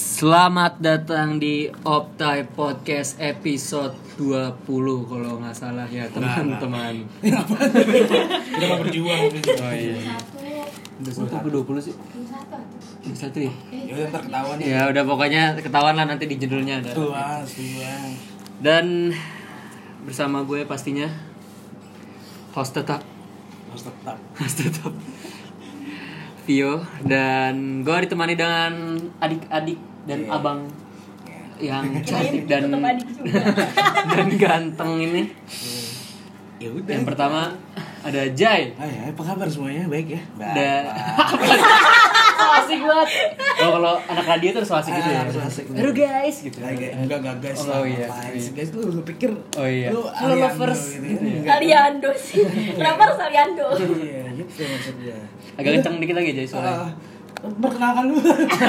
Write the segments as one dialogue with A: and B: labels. A: Selamat datang di Optai Podcast episode 20 kalau nggak Eh, salah ya teman-teman.
B: Udah mau berjuang
A: Oh iya. Udah satu ke 20 sih. Yang Satu ya.
B: Ya udah ntar ketahuan nih.
A: Ya udah pokoknya ketahuan lah nanti di judulnya ada.
B: Tuh, ah, sudah.
A: Dan bersama gue pastinya host tetap,
B: Harus tetap.
A: host tetap. Vio dan gue ditemani dengan adik-adik dan abang yang cantik dan dan ganteng ini.
B: Ya udah.
A: Yang pertama ada Jai.
B: Hai, hai, apa kabar semuanya? Baik ya?
A: Ada asik banget. Kalau Oh, kalau anak radio tuh harus asik gitu ya.
B: Ah, harus asik.
A: Aduh guys gitu.
B: Nah, kayak- Enggak enggak guys.
A: Oh,
B: lah,
A: iya.
B: ngapain sih, guys lu lu pikir
A: Oh, iya. Lu
B: Lu Ariando
A: lovers.
B: gitu.
C: Iya.
B: Enggak.
C: Aliando sih. Kenapa harus Aliando?
B: Iya, gitu maksudnya.
A: Agak kenceng dikit lagi Jai
B: Ah,
A: suaranya.
B: Perkenalkan lu.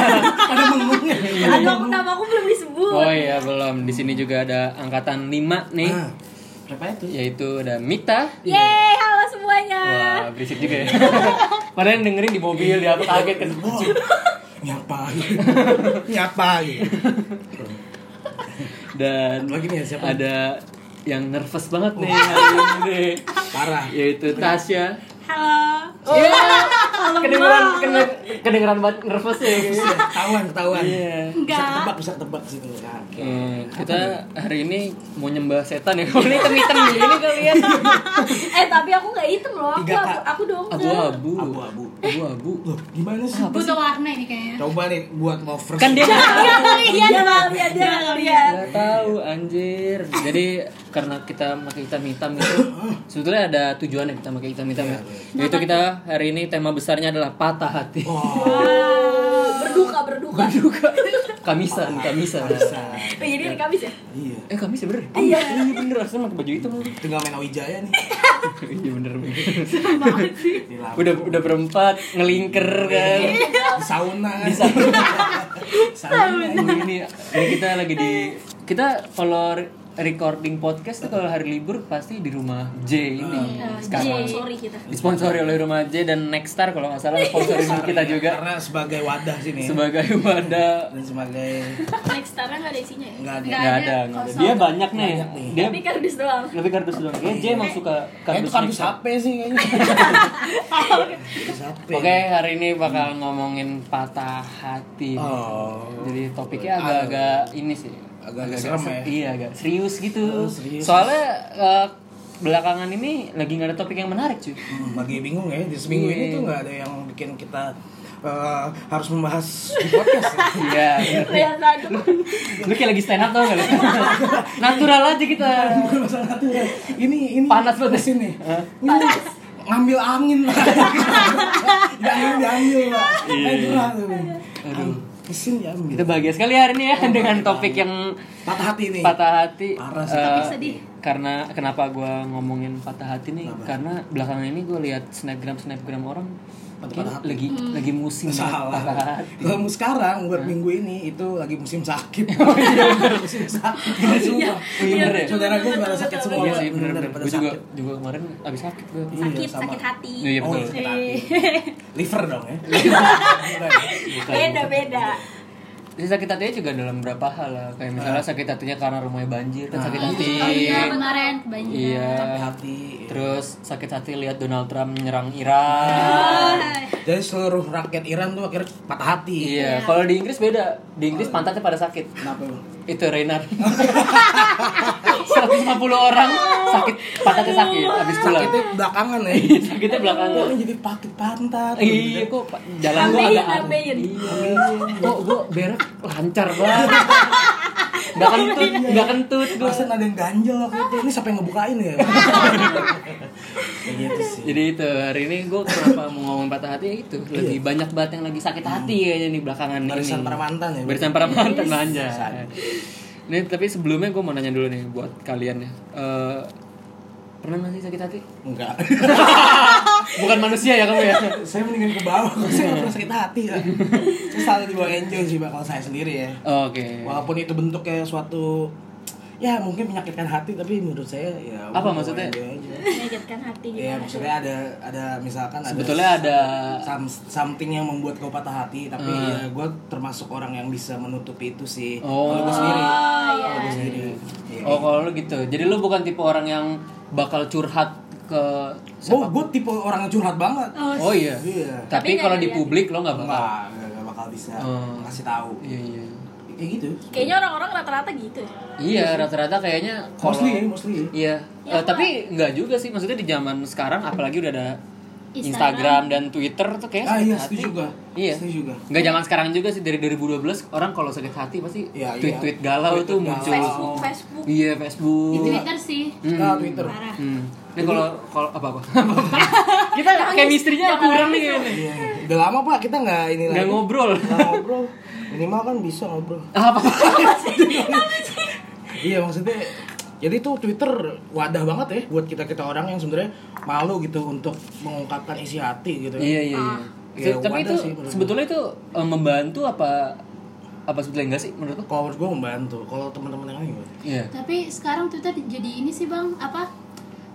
B: Ada mengunya.
C: Aduh, aku nama aku belum disebut.
A: Oh iya belum. Di sini juga ada angkatan 5 nih.
B: Ah, Berapa itu?
A: Yaitu ada Mita.
C: Yeay, halo semuanya.
A: Wah, berisik juga ya. Padahal yang dengerin di mobil dia apa kaget kan.
B: Oh, Nyapain. Nyapain.
A: Dan
B: Lagi nih ya, siapa?
A: ada yang nervous banget nih
B: Oh.
A: hari ini nih.
B: Parah. Iya,
A: Yaitu Tasya.
C: Halo.
B: Oh.
A: Iya. Kedengeran kene- kedengeran banget nervous ya. kayaknya.
B: Ketahuan, ketahuan.
A: Iya.
B: Bisa
C: Enggak.
B: ketebak, bisa ketebak situ. Nah, oke.
A: Hmm, kita hari ini mau nyembah setan ya. Kalau ini hitam-hitam gini kalian.
C: Eh, tapi aku nggak hitam loh. Aku
B: Tiga,
C: aku,
B: Kak.
C: aku dong.
A: Abu-abu.
B: Abu-abu.
A: Abu-abu.
B: Loh, gimana sih?
D: Butuh warna ini kayaknya.
B: Coba nih buat lovers.
A: Kan dia
C: Iya kali, iya kali, iya dia kali ya.
A: Gak tahu anjir. Jadi karena kita pakai hitam-hitam itu sebetulnya ada tujuannya kita pakai hitam-hitam ya. Yaitu kita hari ini tema besarnya adalah patah hati.
B: Oh,
C: Berduka, berduka.
A: Kamisan, kamisan.
B: bisa.
C: Oh, jadi ini kamis ya?
B: Iya.
A: Eh kamisan bener. Iya, iya bener. Asli pakai baju hitam.
B: Tinggal main Wijaya nih.
A: Iya bener. bener.
B: Di lab-
A: Udah udah berempat ngelingker kan.
B: di sauna kan.
A: Di sauna.
B: sauna.
A: Ini, ini, ini kita lagi di kita kalau re- recording podcast tuh kalau hari libur pasti di rumah Iya, J ini sekarang
C: Sorry kita.
A: disponsori oleh rumah J dan Nextstar kalau nggak salah sponsorin kita juga
B: Karena sebagai wadah sini.
A: sebagai wadah
B: dan sebagai
C: Next time nggak ada isinya ya?
B: enggak ada.
D: Nggak
A: nggak ada
D: ada,
A: nggak ada
D: kosong.
A: dia banyak nih dia
C: Tapi kardus doang.
A: lebih kardus doang Kayaknya J emang suka
B: Kayaknya
A: kardus,
B: itu kardus
A: Nextstar.
B: HP sih kayaknya. Kardus HP.
A: Oke hari ini bakal ngomongin patah hati nih.
B: Oh.
A: Jadi topiknya agak-agak ini sih.
B: Agak-agak serem ya?
A: Iya, agak serius gitu.
B: Oh, serius.
A: Soalnya eh, belakangan ini lagi nggak ada topik yang menarik cuy.
B: Hmm, Bagi bingung ya, di seminggu ini
A: Iya.
B: tuh nggak ada yang bikin kita eh, harus membahas di podcast.
A: Iya.
C: Lihat aja.
A: Lu kayak lagi stand up tau gak lu? Natural aja kita.
B: Bukan masalah aturan. Ini ini
A: Panas banget.
B: mesin nih. Ini ngambil angin lah. Jangan diambil lah. Iya. Aduh. Mesin diambil.
A: Kita bahagia sekali hari ini ya dengan topik yang
B: Patah hati nih.
A: patah hati.
B: Iya, Parah sih.
A: Eh,
B: Tapi
C: sedih.
A: Karena kenapa gue ngomongin patah hati nih? Karena belakangan ini gue lihat snapgram snapgram orang
B: Patah-patah
A: kayak lagi lagi musim banget patah
B: Salah.
A: hati.
B: Kamu sekarang buat minggu ini itu lagi musim sakit.
A: Oh,
B: musim sakit. Iya.
A: iya, bener ya?
B: Saudara gue pada sakit semua.
A: Iya sih bener bener.
B: Oh, Pada
A: Gue juga
B: sakit.
A: juga kemarin abis sakit gue.
C: Sakit,
B: sama.
C: sakit hati.
A: Iya
B: Oh,
A: betul.
B: sakit hati. Liver dong ya.
A: Iya.
C: Beda, beda.
A: Jadi sakit hatinya juga dalam beberapa hal lah. Kayak
B: Nah.
A: misalnya sakit hatinya karena rumahnya banjir kan sakit hati.
D: Oh iya kemarin kebanyakan.
A: Iya.
B: Sakit hati.
A: Terus sakit hati lihat Donald Trump menyerang Iran.
B: Jadi seluruh rakyat Iran tuh akhirnya patah hati.
A: Iya. Kalau di Inggris beda. Di Inggris pantatnya pada sakit.
B: Kenapa? Bang?
A: Itu Renar. 150 orang sakit pantatnya sakit habis pulang.
B: Sakitnya belakangan ya.
A: Sakitnya
B: Kok
A: belakangan.
B: ini jadi pakit pantat.
A: Iya kok Pak, jalan gua
C: Tambahin,
A: ada angin.
C: tambahin.
A: Iya. Kok gua berak lancar banget. Gak kentut, gak kentut gua.
B: Perasaan ada yang ganjel waktu itu. Ini siapa yang ngebukain
A: Iya,
B: ya? Kayak gitu sih.
A: Jadi itu hari ini gua kenapa mau ngomong patah hati itu lagi banyak banget yang lagi sakit hati kayaknya nih belakangan ini.
B: Barisan para mantan
A: Iya.
B: ya?
A: Hmm. Barisan para mantan aja. Nih tapi sebelumnya gua mau nanya dulu nih buat kalian ya. Eh, pernah gak sih sakit hati?
B: Enggak.
A: Bukan manusia ya kamu ya?
B: saya mendingan ke bawah. Kalau saya nggak pernah sakit hati ya. Saya selalu di bawah enjoy sih Pak, kalau saya sendiri ya.
A: Oke.
B: Walaupun itu bentuknya suatu ya mungkin menyakitkan hati tapi menurut saya ya
A: Apa
B: udah,
A: maksudnya?
B: enjoy aja.
C: Menyakitkan hati gitu.
B: Iya, maksudnya ada ada misalkan ada
A: Sebetulnya ada
B: some- something yang membuat kau patah hati, tapi
A: Hmm.
B: ya gue termasuk orang yang bisa menutupi itu sih.
A: Oh.
B: Kalau gue sendiri,
C: Oh iya.
B: kalau gue sendiri. Iya.
A: Oh, kalau lu gitu. Jadi lu bukan tipe orang yang bakal curhat ke
B: Gue gue tipe orang yang curhat banget.
A: Oh iya.
B: Iya.
A: Tapi
C: Tapi
A: kalau di
C: nggak dilihat.
A: publik lo nggak bakal.
B: Enggak, enggak, enggak bakal bisa
A: Oh.
B: ngasih tahu.
A: Iya iya.
B: Kayak gitu.
C: Kayaknya orang-orang rata-rata gitu ya.
A: Iya, rata-rata kayaknya kalau
B: Mostly, mostly.
A: Iya.
C: Ya,
A: Eh, tapi nggak juga sih, maksudnya di zaman sekarang apalagi udah ada Instagram, dan Twitter tuh kayak
B: Ah
A: Eh,
B: iya,
A: hati.
B: setuju juga.
A: Iya.
B: Setuju juga.
A: Nggak zaman sekarang juga sih dari 2012 orang kalau sakit hati pasti
B: Iya, iya.
A: tweet-tweet galau
B: Tweet-tweet
A: tuh
B: galau.
A: muncul.
C: Facebook, Facebook.
A: Iya, Facebook.
D: Twitter sih
B: Nah, Twitter.
D: parah.
A: Hmm. Ini kalau kalau apa apa? Kita chemistry-nya kurang nih kayaknya.
B: Iya. Udah lama Pak kita nggak ini lagi.
A: Nggak ngobrol.
B: Nggak ngobrol. Minimal kan bisa ngobrol.
A: Apa?
B: Iya maksudnya jadi tuh Twitter wadah banget ya buat kita kita orang yang sebenarnya malu gitu untuk mengungkapkan isi hati gitu.
A: Iya iya iya.
B: Iya,
A: Se- tapi
B: wadah
A: itu
B: sih menurut gue.
A: sebetulnya itu eh, membantu apa apa sebetulnya enggak sih menurut lo?
B: Kalau menurut gue membantu. Kalau teman-teman yang lain gimana?
A: Iya.
D: Tapi sekarang Twitter jadi ini sih bang apa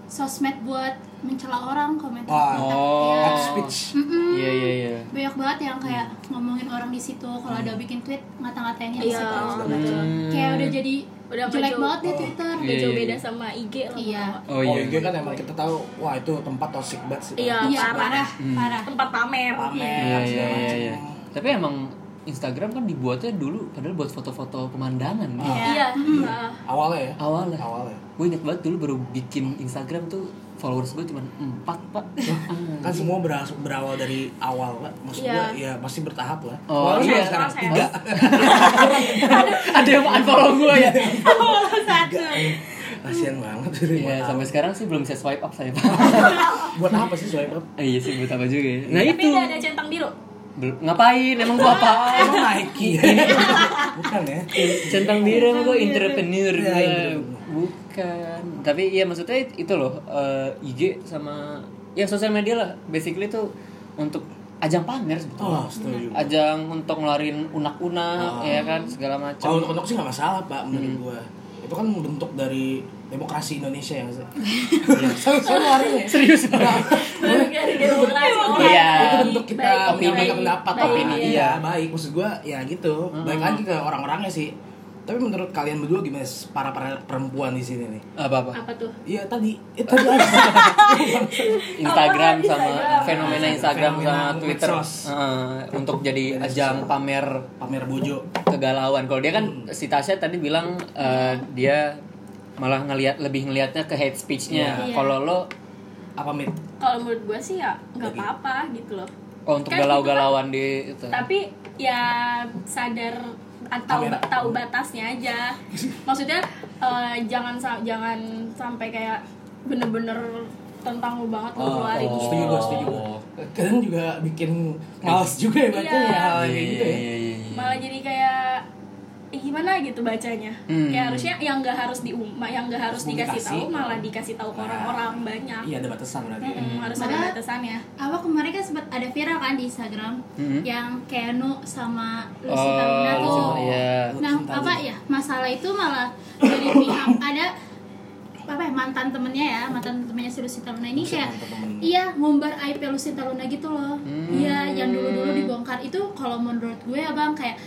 D: sosmed buat mencela orang komentar.
B: Wah.
A: Oh.
B: Hate speech.
D: Mm-mm.
A: Iya iya iya.
D: Banyak banget yang kayak ngomongin orang di situ kalau ada bikin tweet ngata-ngatainnya di
C: Iya.
D: situ.
A: betul.
D: Kayak udah jadi
C: Udah
D: jelek
C: maju.
D: banget deh Twitter.
C: Udah
B: Iya,
C: jauh beda sama IG lah.
D: Iya.
A: Oh
B: Oh,
A: iya.
B: IG kan emang kita tahu, wah itu tempat toxic banget sih.
C: Iya.
D: Iya
C: Parah.
D: parah parah.
C: Tempat pamer.
A: Iya
B: Pamer,
A: iya
B: segala
A: iya.
B: macam.
A: iya. Tapi emang Instagram kan dibuatnya dulu padahal buat foto-foto pemandangan.
D: Iya.
C: Iya. Nah,
B: Awalnya ya.
A: Awalnya.
B: Awalnya.
A: Gue inget banget dulu baru bikin Instagram tuh followers gue cuma 4 pak.
B: Kan semua beras- berawal dari awal, Pak. Maksud
C: Iya.
B: gua ya pasti bertahap lah.
A: Oh,
B: Walaupun
A: iya.
B: sekarang
C: Sekarang
B: tiga.
A: Ada yang unfollow gue ya.
C: Follow satu.
B: Kasian banget.
A: Iya
B: Buat
A: sampai sekarang sih belum bisa swipe up saya pak.
B: apa- Buat apa sih swipe up?
A: Eh, iya sih buat apa juga ya. Nah
C: Tapi
A: itu
C: udah ada centang biru.
A: Bel- ngapain emang gua apa?
B: Emang Nike ya? Bukan ya?
A: Centang biru emang gua entrepreneur
B: Iya,
A: gua.
B: entrepreneur.
A: Bukan. Tapi iya maksudnya it- itu loh eh, IG sama ya sosial media lah basically itu untuk ajang pamer sebetulnya.
B: Oh, setuju.
A: Ajang untuk ngelarin unak-unak ya kan segala macam.
B: Kalau untuk untuk sih nggak masalah pak menurut
A: Hmm.
B: gua. Itu kan bentuk dari demokrasi Indonesia ya, yang
A: Iya.
B: saya saya ngeluarin ya.
A: Serius banget. Iya.
B: Itu bentuk kita
C: Baik,
B: menyampaikan
C: baik,
B: pendapat
C: baik,
B: opini.
C: iya.
B: Iya baik maksud gua ya gitu.
A: Hmm.
B: Baik lagi ke orang-orangnya sih. Tapi menurut kalian berdua gimana para para perempuan di sini nih?
A: Apa-apa.
C: Apa tuh?
B: Iya tadi itu aja.
A: Instagram sama
C: Apaan Instagram?
A: fenomena Instagram sama
B: Fenomena
A: Twitter
B: medsos.
A: Heeh, untuk jadi ajang pamer
B: Pamer bojo.
A: kegalauan. Kalau dia kan si Tasya tadi bilang eh, dia malah ngelihat lebih ngelihatnya ke hate speech-nya.
C: Iya.
A: Kalau lo
B: Apa mit?
C: Kalau menurut gue sih ya nggak apa-apa gitu loh.
A: oh, untuk
C: Kan
A: galau-galauan di
B: Iya.
A: itu.
C: tapi ya sadar atau
B: Kamera.
C: tahu batasnya aja maksudnya eh, jangan sa- jangan sampai kayak bener-bener tentang lu banget lu keluarin
A: oh.
C: gitu.
B: Setuju gua, setuju gua. Kadang juga bikin males juga ya baca
C: Iya.
B: ya hal kayak gitu ya.
A: iya, iya, iya.
C: malah jadi kayak eh, gimana gitu bacanya
A: Hmm.
C: kayak harusnya yang nggak harus di um, yang nggak harus dikasih tahu
B: Komunikasi.
C: malah dikasih tahu ke orang-orang banyak
B: Iya ada batasan berarti. ya.
C: Mm-mm, harus ada
D: Padahal-
C: batasannya
D: Apa kemarin kan sempat ada viral kan di Instagram
A: Mhm.
D: yang Kenu sama Lucy
A: Oh,
D: Tamina
A: lucu,
D: tuh.
A: iya.
D: Nah,
B: Cinta
D: apa
B: lu.
D: ya? Masalah itu malah dari pihak ada apa ya, mantan temennya ya, mantan temennya si Lucinta Luna ini kayak
B: mantan temen.
D: iya ngumbar aib Lucinta Luna gitu loh. Iya, yang dulu-dulu dibongkar itu kalau menurut gue Abang kayak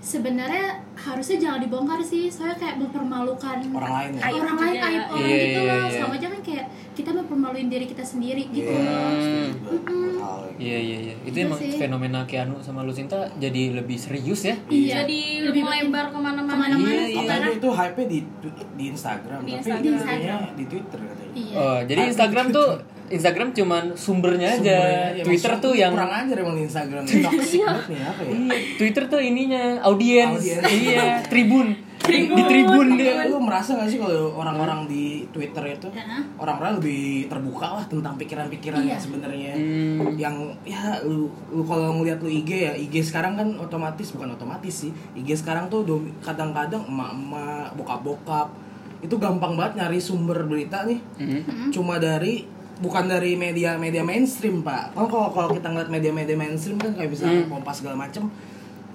D: sebenarnya harusnya jangan dibongkar sih, soalnya kayak mempermalukan
B: Orang lain ya.
C: Aib
D: orang lain
C: juga.
D: aib orang
A: Iya,
D: gitu
A: iya,
D: loh.
A: iya.
D: Sama aja kan kayak kita mempermaluin diri kita sendiri gitu.
B: Iya, setuju gua. Hal kayak gitu.
A: Mm. Iya, iya, iya. Itu
D: Iya
A: emang
D: sih.
A: fenomena Keanu sama Lucinta jadi lebih serius ya.
D: Iya.
C: jadi
D: Lebih
C: melebar kemana-mana
D: kemana-mana
A: Iya, iya.
B: Katanya itu hype-nya di di Instagram,
C: Di
B: tapi
C: Instagram.
B: di Instagram. di Twitter katanya.
D: Iya.
A: Oh, jadi Instagram tuh Instagram cuman sumbernya Iya, aja.
B: Sumbernya aja,
A: Twitter
B: maksudnya
A: tuh yang
B: kurang ajar emang di Instagram. Toxic banget nih apa ya?
A: Iya, Twitter tuh ininya audiens,
B: Audiens.
A: iya, tribun. Di tribun dia.
B: Lu merasa gak sih kalau orang-orang di Twitter itu
D: Hah?
B: orang-orang lebih terbuka lah tentang pikiran-pikiran
D: Iya.
B: yang sebenarnya
A: Hmm.
B: yang ya lu, lu kalau ngeliat lu IG ya IG sekarang kan otomatis bukan otomatis sih IG sekarang tuh dom- kadang-kadang emak-emak bokap-bokap itu gampang banget nyari sumber berita nih
A: Hmm.
B: cuma dari bukan dari media-media mainstream pak kan kalau kalau kita ngeliat media-media mainstream kan kayak bisa
A: Hmm.
B: kompas segala macem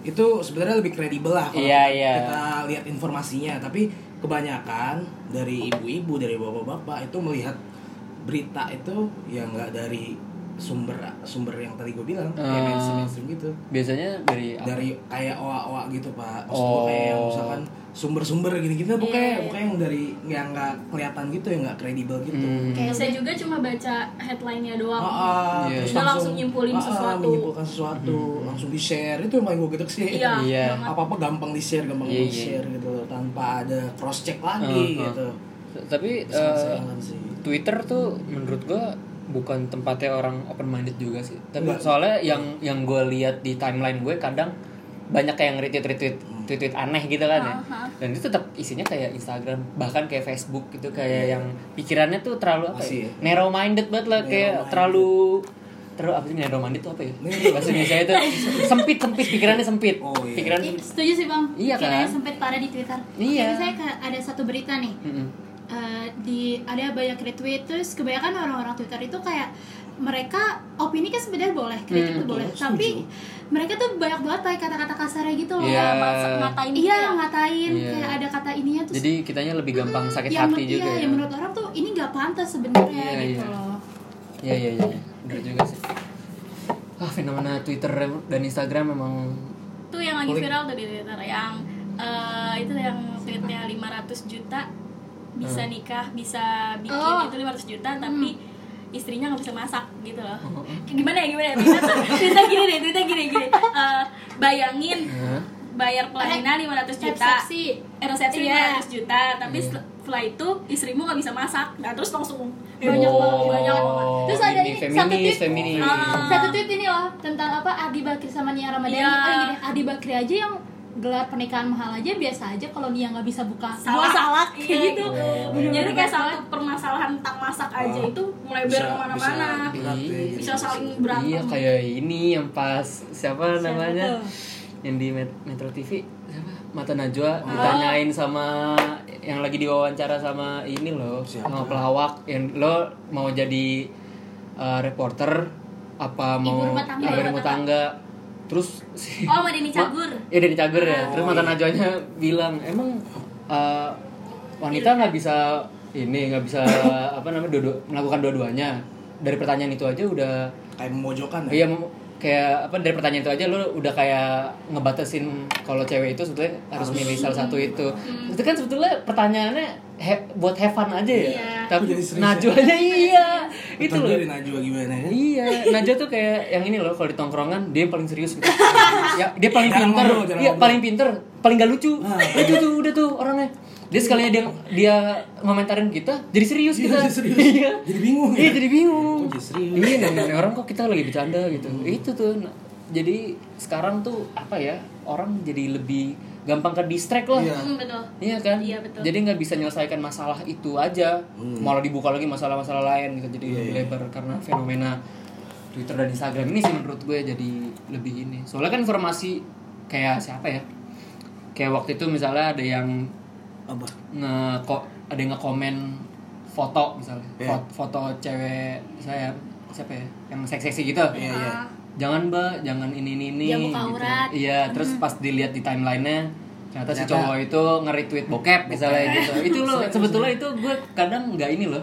B: itu sebenarnya lebih kredibel lah kalau
A: Iya, iya.
B: kita lihat informasinya tapi kebanyakan dari ibu-ibu dari bapak-bapak itu melihat berita itu ya nggak dari sumber sumber yang tadi gue bilang
A: Ah.
B: kayak mainstream mainstream gitu
A: Biasanya dari apa?
B: dari kayak oa-oa gitu pak Maksudnya kayak yang
A: Oh.
B: misalkan sumber-sumber gitu-gitu bukan
C: Iya, iya.
B: bukan yang dari yang nggak kelihatan gitu yang nggak kredibel gitu
A: Hmm.
D: Kayak
C: saya juga cuma baca headline-nya doang
B: Ah, ah,
A: Iya,
B: terus
A: iya.
C: Langsung nyimpulin
B: ah, ah,
C: sesuatu.
B: menyimpulkan sesuatu langsung di share itu yang paling gue gedek sih
C: iya
A: Iya.
C: banget.
B: apa apa gampang di share gampang
A: Iya,
B: di
A: iya.
B: share gitu tanpa ada cross check lagi
A: Ah, ah.
B: gitu
A: Tapi eh,
B: Sayang-sayangan sih
A: Twitter tuh menurut gua bukan tempatnya orang open minded juga sih. Tapi
B: Nggak.
A: soalnya yang yang gue lihat di timeline gue kadang banyak kayak yang retweet retweet
B: Hmm.
A: tweet tweet aneh gitu kan ya.
C: Aha.
A: Dan itu tetap isinya kayak Instagram bahkan kayak Facebook gitu kayak yang pikirannya tuh terlalu apa
B: Iya. Masih
A: ya?
B: ya. Iya,
A: Narrow minded banget lah kayak
B: Narrow-minded.
A: terlalu terlalu apa sih narrow minded tuh apa ya?
B: Narrow.
A: Bahasa Indonesia itu sempit sempit pikirannya sempit.
B: Oh, iya.
A: Pikiran
D: Ih, setuju sih bang
A: Iya, kan?
D: Kiranya sempit parah di twitter
A: Iya.
D: Waktu itu saya ke- ada satu berita nih
A: Mm-mm.
D: Eh, di ada banyak retweet terus kebanyakan orang-orang Twitter itu kayak mereka opini kan sebenarnya boleh kritik
A: Hmm,
D: itu boleh
B: betul,
D: tapi
B: setuju.
D: mereka tuh banyak banget pakai kata-kata kasarnya gitu loh
A: Iya.
C: Mas- ngatain gitu
D: iya
C: ya.
D: ngatain
A: Iya.
D: kayak ada kata ininya terus
A: Jadi kitanya lebih gampang sakit
D: yang,
A: hati
D: iya,
A: juga ya.
D: yang menurut orang tuh ini nggak pantas sebenarnya
A: Iya,
D: gitu
A: iya.
D: loh
A: Iya iya iya, iya. bener juga sih. Ah fenomena Twitter dan Instagram memang
C: tuh yang lagi viral tuh di Twitter yang eh, itu yang tweetnya 500 juta bisa nikah bisa bikin
D: Oh. Hmm.
C: itu 500 juta tapi istrinya nggak bisa masak gitu loh
A: Oh,
C: gimana ya gimana ya Tweetnya tuh tweetnya gini deh tweetnya gini gini Eh, bayangin
A: Hah?
C: bayar pelaminan 500 juta
D: Resepsi.
C: Eh, resepsi
D: Iya.
C: 500 juta tapi
A: Iya.
C: setelah itu istrimu nggak bisa masak nah terus langsung
A: Oh.
D: Iya, Banyak banget,
C: banyak banget.
D: Terus ada ini,
A: feminis,
D: satu tweet.
A: feminis.
C: Ah.
D: satu tweet ini loh tentang apa Adi Bakri sama Nia Ramadhani
C: Iya.
D: Eh, gini, Adi Bakri aja yang gelar pernikahan mahal aja biasa aja kalau Nia nggak bisa buka
C: salah salah
D: Iya,
C: kayak gitu
A: Oh. Ah.
C: jadi kayak salah satu permasalahan tentang masak aja itu melebar kemana-mana
B: bisa, berat ya,
A: Iya.
B: jadi.
C: bisa saling berantem
A: Iya kayak ini yang pas siapa, namanya
D: tuh?
A: yang di Met- Metro TV siapa? Mata
D: Ah.
A: Najwa ditanyain sama yang lagi diwawancara sama ini loh
B: Siapa?
A: sama pelawak yang lo mau jadi uh, reporter apa mau
D: rumah tangga.
A: ibu
D: Ibu
A: rumah tangga. terus si
C: oh mau Denny Cagur
A: Iya dari cagur ya. Terus mantan najwanya bilang emang eh, wanita nggak bisa ini nggak bisa apa namanya dua-dua- melakukan dua-duanya. Dari pertanyaan itu aja udah
B: kayak memojokkan ya
A: iya mem- kayak apa dari pertanyaan itu aja lu udah kayak ngebatasin kalau cewek itu sebetulnya harus milih salah satu itu. Itu kan sebetulnya pertanyaannya he- buat have fun aja ya.
C: Iya.
A: Tapi
B: Jadi serius ya?
A: najwanya iya.
B: itu
A: itu loh.
B: dari Najwa gimana ya
A: Iya, Najwa tuh kayak yang ini loh kalau di tongkrongan dia yang paling serius gitu. ya, dia paling
B: Jarang
A: pinter.
B: ngobrol, jarang
A: Iya,
B: ngobrol.
A: paling pinter, paling gak lucu.
B: Ah.
A: Lucu tuh udah tuh orangnya. Dia sekalinya dia dia ngomentarin kita, jadi serius
B: Iya,
A: kita.
B: jadi serius.
A: Iya.
B: Jadi bingung
A: Iya,
B: ya?
A: jadi bingung.
B: Kok jadi serius?
A: Iya, namanya orang kok kita lagi bercanda gitu. Itu tuh. Nah, Jadi sekarang tuh apa ya? Orang jadi lebih gampang ke distract lah.
B: Iya.
C: Hmm, betul
A: Iya kan?
C: Iya, betul.
A: Jadi nggak bisa menyelesaikan masalah itu aja,
B: Hmm.
A: malah dibuka lagi masalah-masalah lain gitu. Jadi
B: Iya,
A: lebih lebar karena fenomena Twitter dan Instagram ini sih menurut gue jadi lebih ini. Soalnya kan informasi kayak siapa ya? Kayak waktu itu misalnya ada yang
B: apa
A: nge ko- ada yang nge-komen foto misalnya,
B: Iya.
A: Fot- foto cewek saya siapa ya? Yang seksi-seksi gitu
B: iya iya
C: Ah.
A: jangan mbak jangan ini ini ini
D: Jangan buka aurat.
A: iya terus pas dilihat di timelinenya ternyata si
B: Ternyata-
A: cowok itu nge-retweet bokep misalnya gitu itu loh sebetulnya itu gue kadang nggak ini loh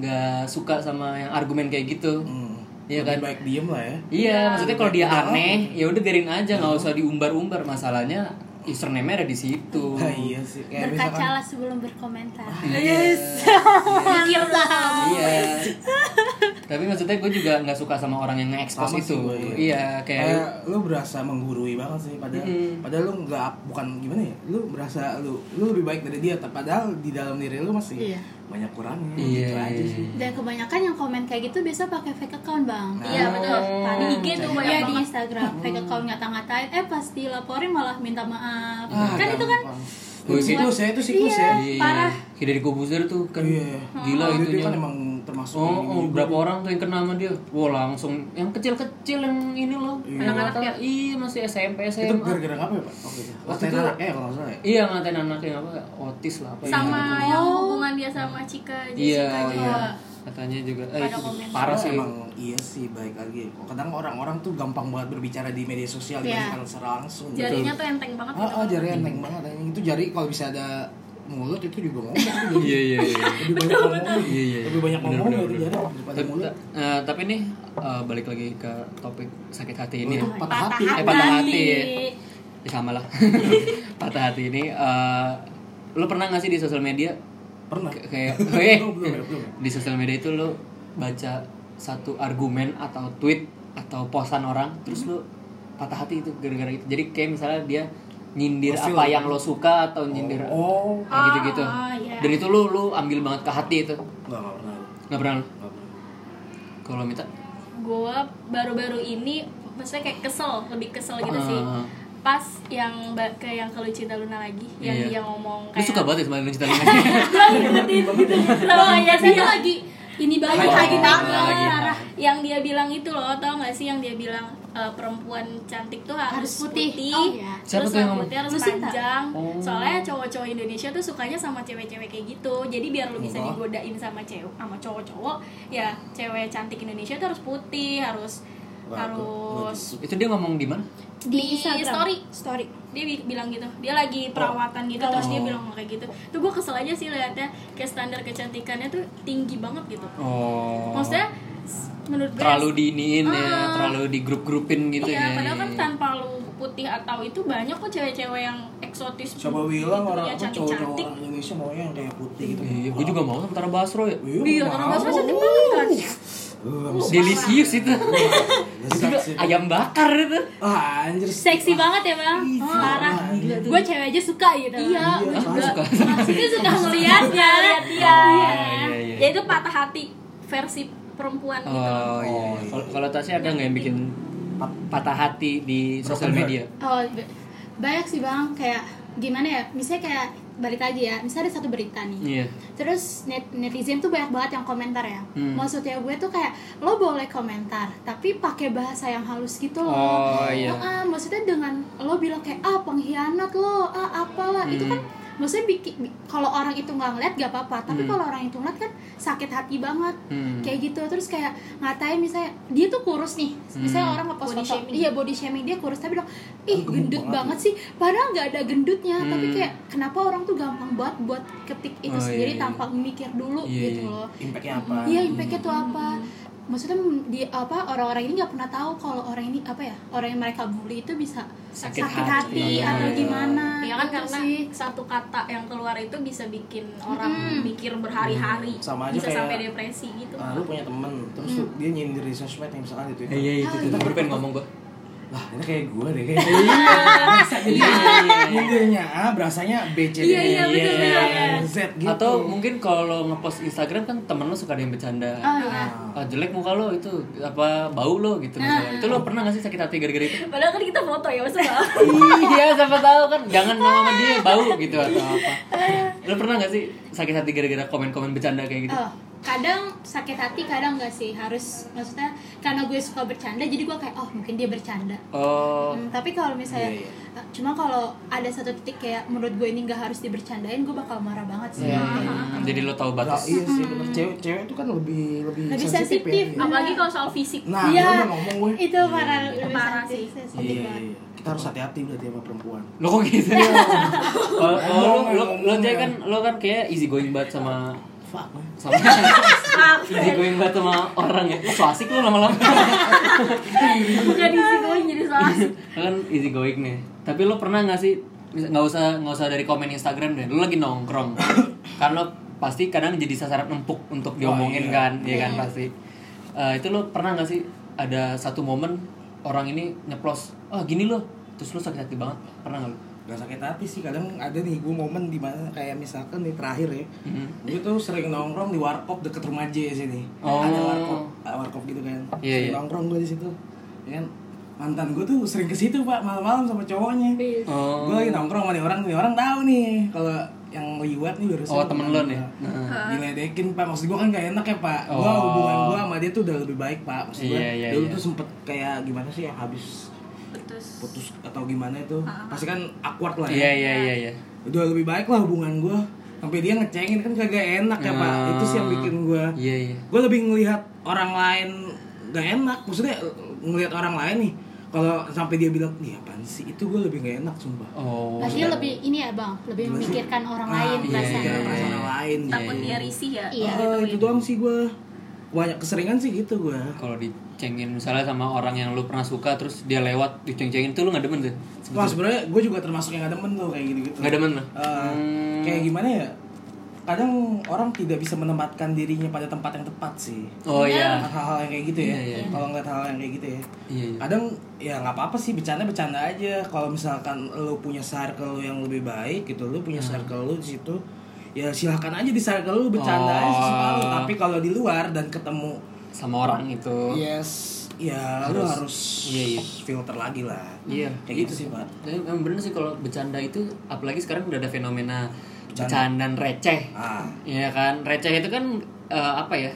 A: nggak suka sama yang argumen kayak gitu
B: Hmm.
A: Iya kan?
B: Lebih baik diem lah ya
A: iya maksudnya kalau dia aneh ya udah biarin aja
B: Oh.
A: nggak usah diumbar-umbar masalahnya username-nya ada di situ
B: Nah, iya sih kayak misalkan
D: berkacalah sebelum berkomentar
C: mikir lah
B: ya?
A: iya tapi maksudnya gue juga nggak suka sama orang yang nge-expose
B: Sama
A: itu
B: sih gua, iya.
A: iya kayak
B: kayak lu berasa menggurui banget sih padahal padahal lu nggak bukan gimana ya lu berasa lu lu lebih baik dari dia tapi padahal di dalam diri lu masih
D: Iya.
B: banyak kurangnya
A: Iya.
B: gitu aja sih
D: dan kebanyakan yang komen kayak gitu biasa pakai fake account bang
C: iya betul di IG tuh
A: Oh,
C: banyak
D: Iya di
C: banget Hmm.
D: Instagram fake account ngata-ngatain eh pasti laporin malah minta maaf
B: Ah,
C: iya.
D: kan itu kan
B: gampang.
A: Gua sih-
B: siklus ya itu siklus
D: Iya.
B: ya
A: Iya,
D: parah.
A: Kayak dari Kobuzer tuh kan
B: Iya.
A: gila
B: Dia-
A: itunya.
B: dia kan Iya. emang termasuk
A: Oh,
B: ini
A: oh,
B: juga.
A: berapa orang tuh yang kena sama dia? Wah, langsung yang kecil-kecil yang ini loh. Anak-anak ya? Iya, masih SMP,
B: itu
A: SMA.
B: gara-gara apa ya pak waktu itu
A: Waktu
B: waktu
A: itu-
B: itu anaknya ya kalau nggak salah ya
A: Iya, ngatain anak yang apa? Otis lah apa ya.
C: sama yang hubungan dia sama Cika
A: Iya,
C: Jessica juga.
A: iya. Katanya juga eh,
C: Pada komen.
A: parah sih.
B: emang iya sih baik lagi kok kadang orang-orang tuh gampang banget berbicara di media sosial
D: Iya.
B: dibandingkan secara langsung Ah,
A: Ah,
C: jarinya tuh enteng banget gitu.
B: Oh, oh jari enteng banget anjing. Itu jari kalau bisa ada mulut itu juga ngomong itu jadi
A: Iya iya iya.
B: lebih banyak ngomong
A: Iya, iya.
B: lebih banyak
A: Bener,
B: ngomong
A: bener,
B: itu
A: bener.
B: jadi daripada
A: Tapi,
B: mulut
A: eh, tapi nih eh, balik lagi ke topik sakit hati ini. ya.
B: Patah hati.
A: Eh, patah hati. Ya, sama lah. patah hati ini. eh, lo pernah nggak sih di sosial media
B: pernah
A: K- kayak eh,
B: Belum, belum, belum.
A: di sosial media itu lo baca satu argumen atau tweet atau posan orang terus lo patah hati itu gara-gara itu. Jadi kayak misalnya dia nyindir
B: Hostil.
A: apa yang lo suka atau nyindir
B: oh
A: kayak gitu-gitu.
C: Ah, iya.
A: Dan itu lo lo ambil banget ke hati itu.
B: nggak nggak pernah
A: Nggak pernah lo?
B: nggak pernah
A: Kalau minta
C: gue baru-baru ini maksudnya kayak kesel lebih kesel gitu sih
A: Ah.
C: pas yang ba- ke yang kalau cinta Luna lagi yang
A: Iya.
C: dia
A: Lu
C: ngomong kayak
A: suka banget ya sama Lucinta Luna gitu.
C: Tahu ya,
D: Saya
C: saya
D: tuh
C: tuh
A: Iya.
D: lagi ini banget
A: Oh,
D: lagi banget.
A: lagi.
D: Parah.
C: yang dia bilang itu loh tau gak sih yang dia bilang e, perempuan cantik tuh harus,
D: Harus putih. Oh, iya.
A: Siapa
C: terus
A: tuh yang
C: rambutnya harus
D: ngomong? Lucinta.
C: panjang
A: Oh.
C: soalnya cowok-cowok Indonesia tuh sukanya sama cewek-cewek kayak gitu jadi biar lu bisa
B: Oh.
C: digodain sama cewek sama cowok-cowok ya cewek cantik Indonesia tuh harus putih harus
B: Wah, aku-
C: harus
A: Itu dia ngomong di mana?
D: Di Instagram.
C: story
D: Story.
C: dia bi- bilang gitu dia
A: Oh.
C: lagi perawatan gitu terus dia bilang kayak gitu tuh gue kesel aja sih liatnya kayak standar kecantikannya tuh tinggi banget gitu
A: Oh.
C: maksudnya s- menurut gue
A: terlalu diiniin ya,
C: Ah.
A: terlalu digrup-grupin gitu
C: iya,
A: ya.
C: padahal kan tanpa lu putih atau itu banyak kok cewek-cewek yang eksotis
B: coba
C: gitu,
B: bilang orang
C: ya,
B: apa cowok-cowok orang Indonesia maunya yang kayak putih gitu
A: Iya, gue juga mau sama Tara Basro ya.
C: Iya, orang bahasa cantik banget kan.
A: Uh, Delicious itu. itu
B: Seksi.
A: ayam bakar itu.
B: Iya, Ah, anjir.
C: Seksi banget ya bang,
D: Oh.
B: Ih,
C: parah.
B: gila tuh.
C: Gue cewek aja suka gitu. Iya,
B: Iya,
C: gue
B: parah
C: juga.
A: suka.
C: Maksudnya suka ngeliatnya, lihat dia.
A: Oh, iya, iya.
C: Ya itu patah hati versi perempuan gitu.
A: Oh iya.
B: iya.
A: Kalau- Kalau Tasya ada nggak yang bikin pat- patah hati di sosial
B: heart.
A: media?
D: Oh, b- banyak sih bang. Kayak gimana ya? Misalnya kayak balik lagi ya. Misalnya ada satu berita nih.
A: Iya.
D: Terus net netizen tuh banyak banget yang komentar ya.
A: Hmm.
D: Maksudnya gue tuh kayak lo boleh komentar, tapi pakai bahasa yang halus gitu loh.
A: Oh iya.
D: Ah, ah, maksudnya dengan lo bilang kayak ah pengkhianat lo, ah apalah itu
A: Hmm.
D: kan maksudnya bikin bi- kalau orang itu nggak ngeliat gak apa-apa, tapi
A: Hmm.
D: kalau orang itu ngeliat kan sakit hati banget.
A: Hmm.
D: Kayak gitu terus kayak ngatain misalnya dia tuh kurus nih. Misalnya
A: Hmm.
D: orang ngepost
C: Body
D: foto,
C: shaming.
D: iya body shaming dia kurus tapi bilang
B: Ah,
D: ih
B: gemuk
D: gendut
B: banget
D: banget sih. Padahal nggak ada gendutnya, tapi
A: Hmm.
D: kayak kenapa orang tuh gampang banget buat ketik itu
A: Oh, iya,
D: sendiri
A: iya.
D: tanpa mikir dulu
A: Iya,
D: gitu
A: iya.
D: loh
B: Impact-nya apa?
D: iya impactnya tuh apa maksudnya mm, di apa orang-orang ini nggak pernah tahu kalau orang ini apa ya orang yang mereka bully itu bisa
A: Sakit
D: sakit,
A: hati.
D: hati, atau
A: Iya.
D: gimana
C: Ya kan
D: gitu
C: karena
D: sih.
C: satu kata yang keluar itu bisa bikin orang mikir berhari-hari,
B: Sama aja
C: bisa
B: kayak-
C: sampai depresi gitu.
B: Ah, lu punya temen, terus lu- dia nyindir di sosmed yang misalkan gitu ya. di Twitter.
A: Iya iya itu. tuh. Gue pengen ngomong gue.
B: Lah, ini kayak gue deh kayaknya.
D: Iya.
B: Bisa jadi nyindirnya A, berasanya B, C, D,
C: Iya, iya,
B: E,
C: betul, betul,
B: F, Z gitu.
A: Atau mungkin kalau ngepost Instagram kan temen lo suka ada yang bercanda.
D: oh iya
A: Ah, jelek muka lo itu apa bau lo gitu misalnya. Itu lo pernah gak sih sakit hati gara-gara itu?
C: Ah. Padahal kan kita foto ya maksudnya.
A: iya siapa tahu kan jangan mau sama dia bau gitu atau apa lo pernah gak sih sakit hati gara-gara komen-komen bercanda kayak gitu
D: Oh, kadang sakit hati kadang nggak sih harus maksudnya karena gue suka bercanda jadi gue kayak oh mungkin dia bercanda
A: oh
D: Hmm, tapi kalau misalnya
B: Iya,
D: eh, cuma kalau ada satu titik kayak menurut gue ini nggak harus dibercandain gue bakal marah banget sih
B: Iya.
C: Ah.
A: hmm, jadi lo tahu
B: Nah,
A: batas
B: iya sih, bener. Cewek, cewek itu kan lebih lebih,
D: Lebih sensitif.
B: ya.
C: Apalagi kalau soal fisik.
B: Nah,
D: Iya,
B: gue udah ngomong gue.
D: itu parah
C: Itu
D: lebih
C: parah
D: sensitif-
C: sih.
D: sensitif
B: Iya,
D: banget.
B: iya. Kita harus hati-hati berarti sama perempuan.
A: lo kok gitu kalau kalau lo lo lo Jay
B: iya.
A: kan lo kan kayak easy going banget sama
B: Fuck. man.
A: sama easy going banget sama orang ya lo so asik lo lama-lama
C: Jadi sih gue jadi salah.
A: lo kan easy going nih tapi lo pernah gak sih mis- nggak usah nggak usah dari komen Instagram deh lo lagi nongkrong kan lo pasti kadang jadi sasaran empuk untuk diomongin
B: iya.
A: kan ya kan pasti Eh, itu lo pernah gak sih ada satu momen orang ini nyeplos oh gini lo terus lo sakit hati banget pernah gak lo
B: Gak sakit hati sih kadang ada nih gue momen dimana kayak misalkan nih terakhir ya
A: Mm-hmm.
B: gue tuh sering nongkrong di warkop deket rumah J sini
A: Oh.
B: ada warkop ah, warkop gitu kan
A: Iya, iya.
B: sering nongkrong gue di situ ya kan mantan gue tuh sering ke situ pak malam-malam sama cowoknya
A: Oh.
B: gue lagi nongkrong sama nih orang nih orang tahu nih kalau yang liwat nih barusan
A: Oh, temen lo nih.
B: Nah, diledekin pak maksud gue kan gak enak ya pak gue
A: Oh.
B: hubungan gue sama dia tuh udah lebih baik pak maksud gue
A: Iya, iya,
B: dulu
A: iya.
B: tuh sempet kayak gimana sih ya habis
C: Terus
B: putus atau gimana itu
D: Ah,
B: pasti kan awkward lah
A: iya
B: ya
A: iya iya iya
B: udah lebih baik lah hubungan gue sampai dia ngecengin kan kagak enak ya pak
A: Ah.
B: itu sih yang bikin gue
A: iya iya
B: gue lebih ngelihat orang lain gak enak maksudnya eh, ngelihat orang lain nih kalau sampai dia bilang iya apaan sih itu gue lebih gak enak sumpah
A: Oh.
D: Artinya lebih ini ya bang, lebih
B: Gimana sih?
D: memikirkan orang
B: iya. Ah, iya,
D: lain perasaan.
B: iya, perasaan orang
A: Iya,
B: lain gitu.
A: iya.
C: takut dia risih ya
D: Iya.
B: Ah, itu doang sih gue banyak keseringan sih gitu gue
A: Kalau dicengin misalnya sama orang yang lu pernah suka terus dia lewat diceng-cengin tuh lu nggak demen tuh?
B: Wah sebenarnya gue juga termasuk yang gak demen tuh kayak gitu-gitu
A: Nggak demen lah.
B: Eh,
A: Hmm.
B: Kayak gimana ya Kadang orang tidak bisa menempatkan dirinya pada tempat yang tepat sih
A: Oh iya.
B: Hal-hal yang kayak gitu ya
A: Iya, iya.
B: Kalau ngeliat hal yang kayak gitu ya
A: Iya. iya.
B: Kadang ya nggak apa-apa sih bercanda-bercanda aja Kalau misalkan lu punya circle lu yang lebih baik gitu Lu
A: Hmm.
B: punya circle lu di situ Ya silahkan aja di circle lu bercanda aja
A: Oh.
B: sesuka lu. Tapi kalau di luar dan ketemu
A: Sama orang
B: Iya.
A: itu.
B: Yes Ya lu
A: Harus.
B: harus
A: Iya, iya.
B: filter lagi lah
A: Iya.
B: Kayak gitu sih Pak
A: Tapi emang bener sih kalau bercanda itu apalagi sekarang udah ada fenomena bercandaan receh.
B: Ah,
A: Iya kan, receh itu kan eh, apa ya?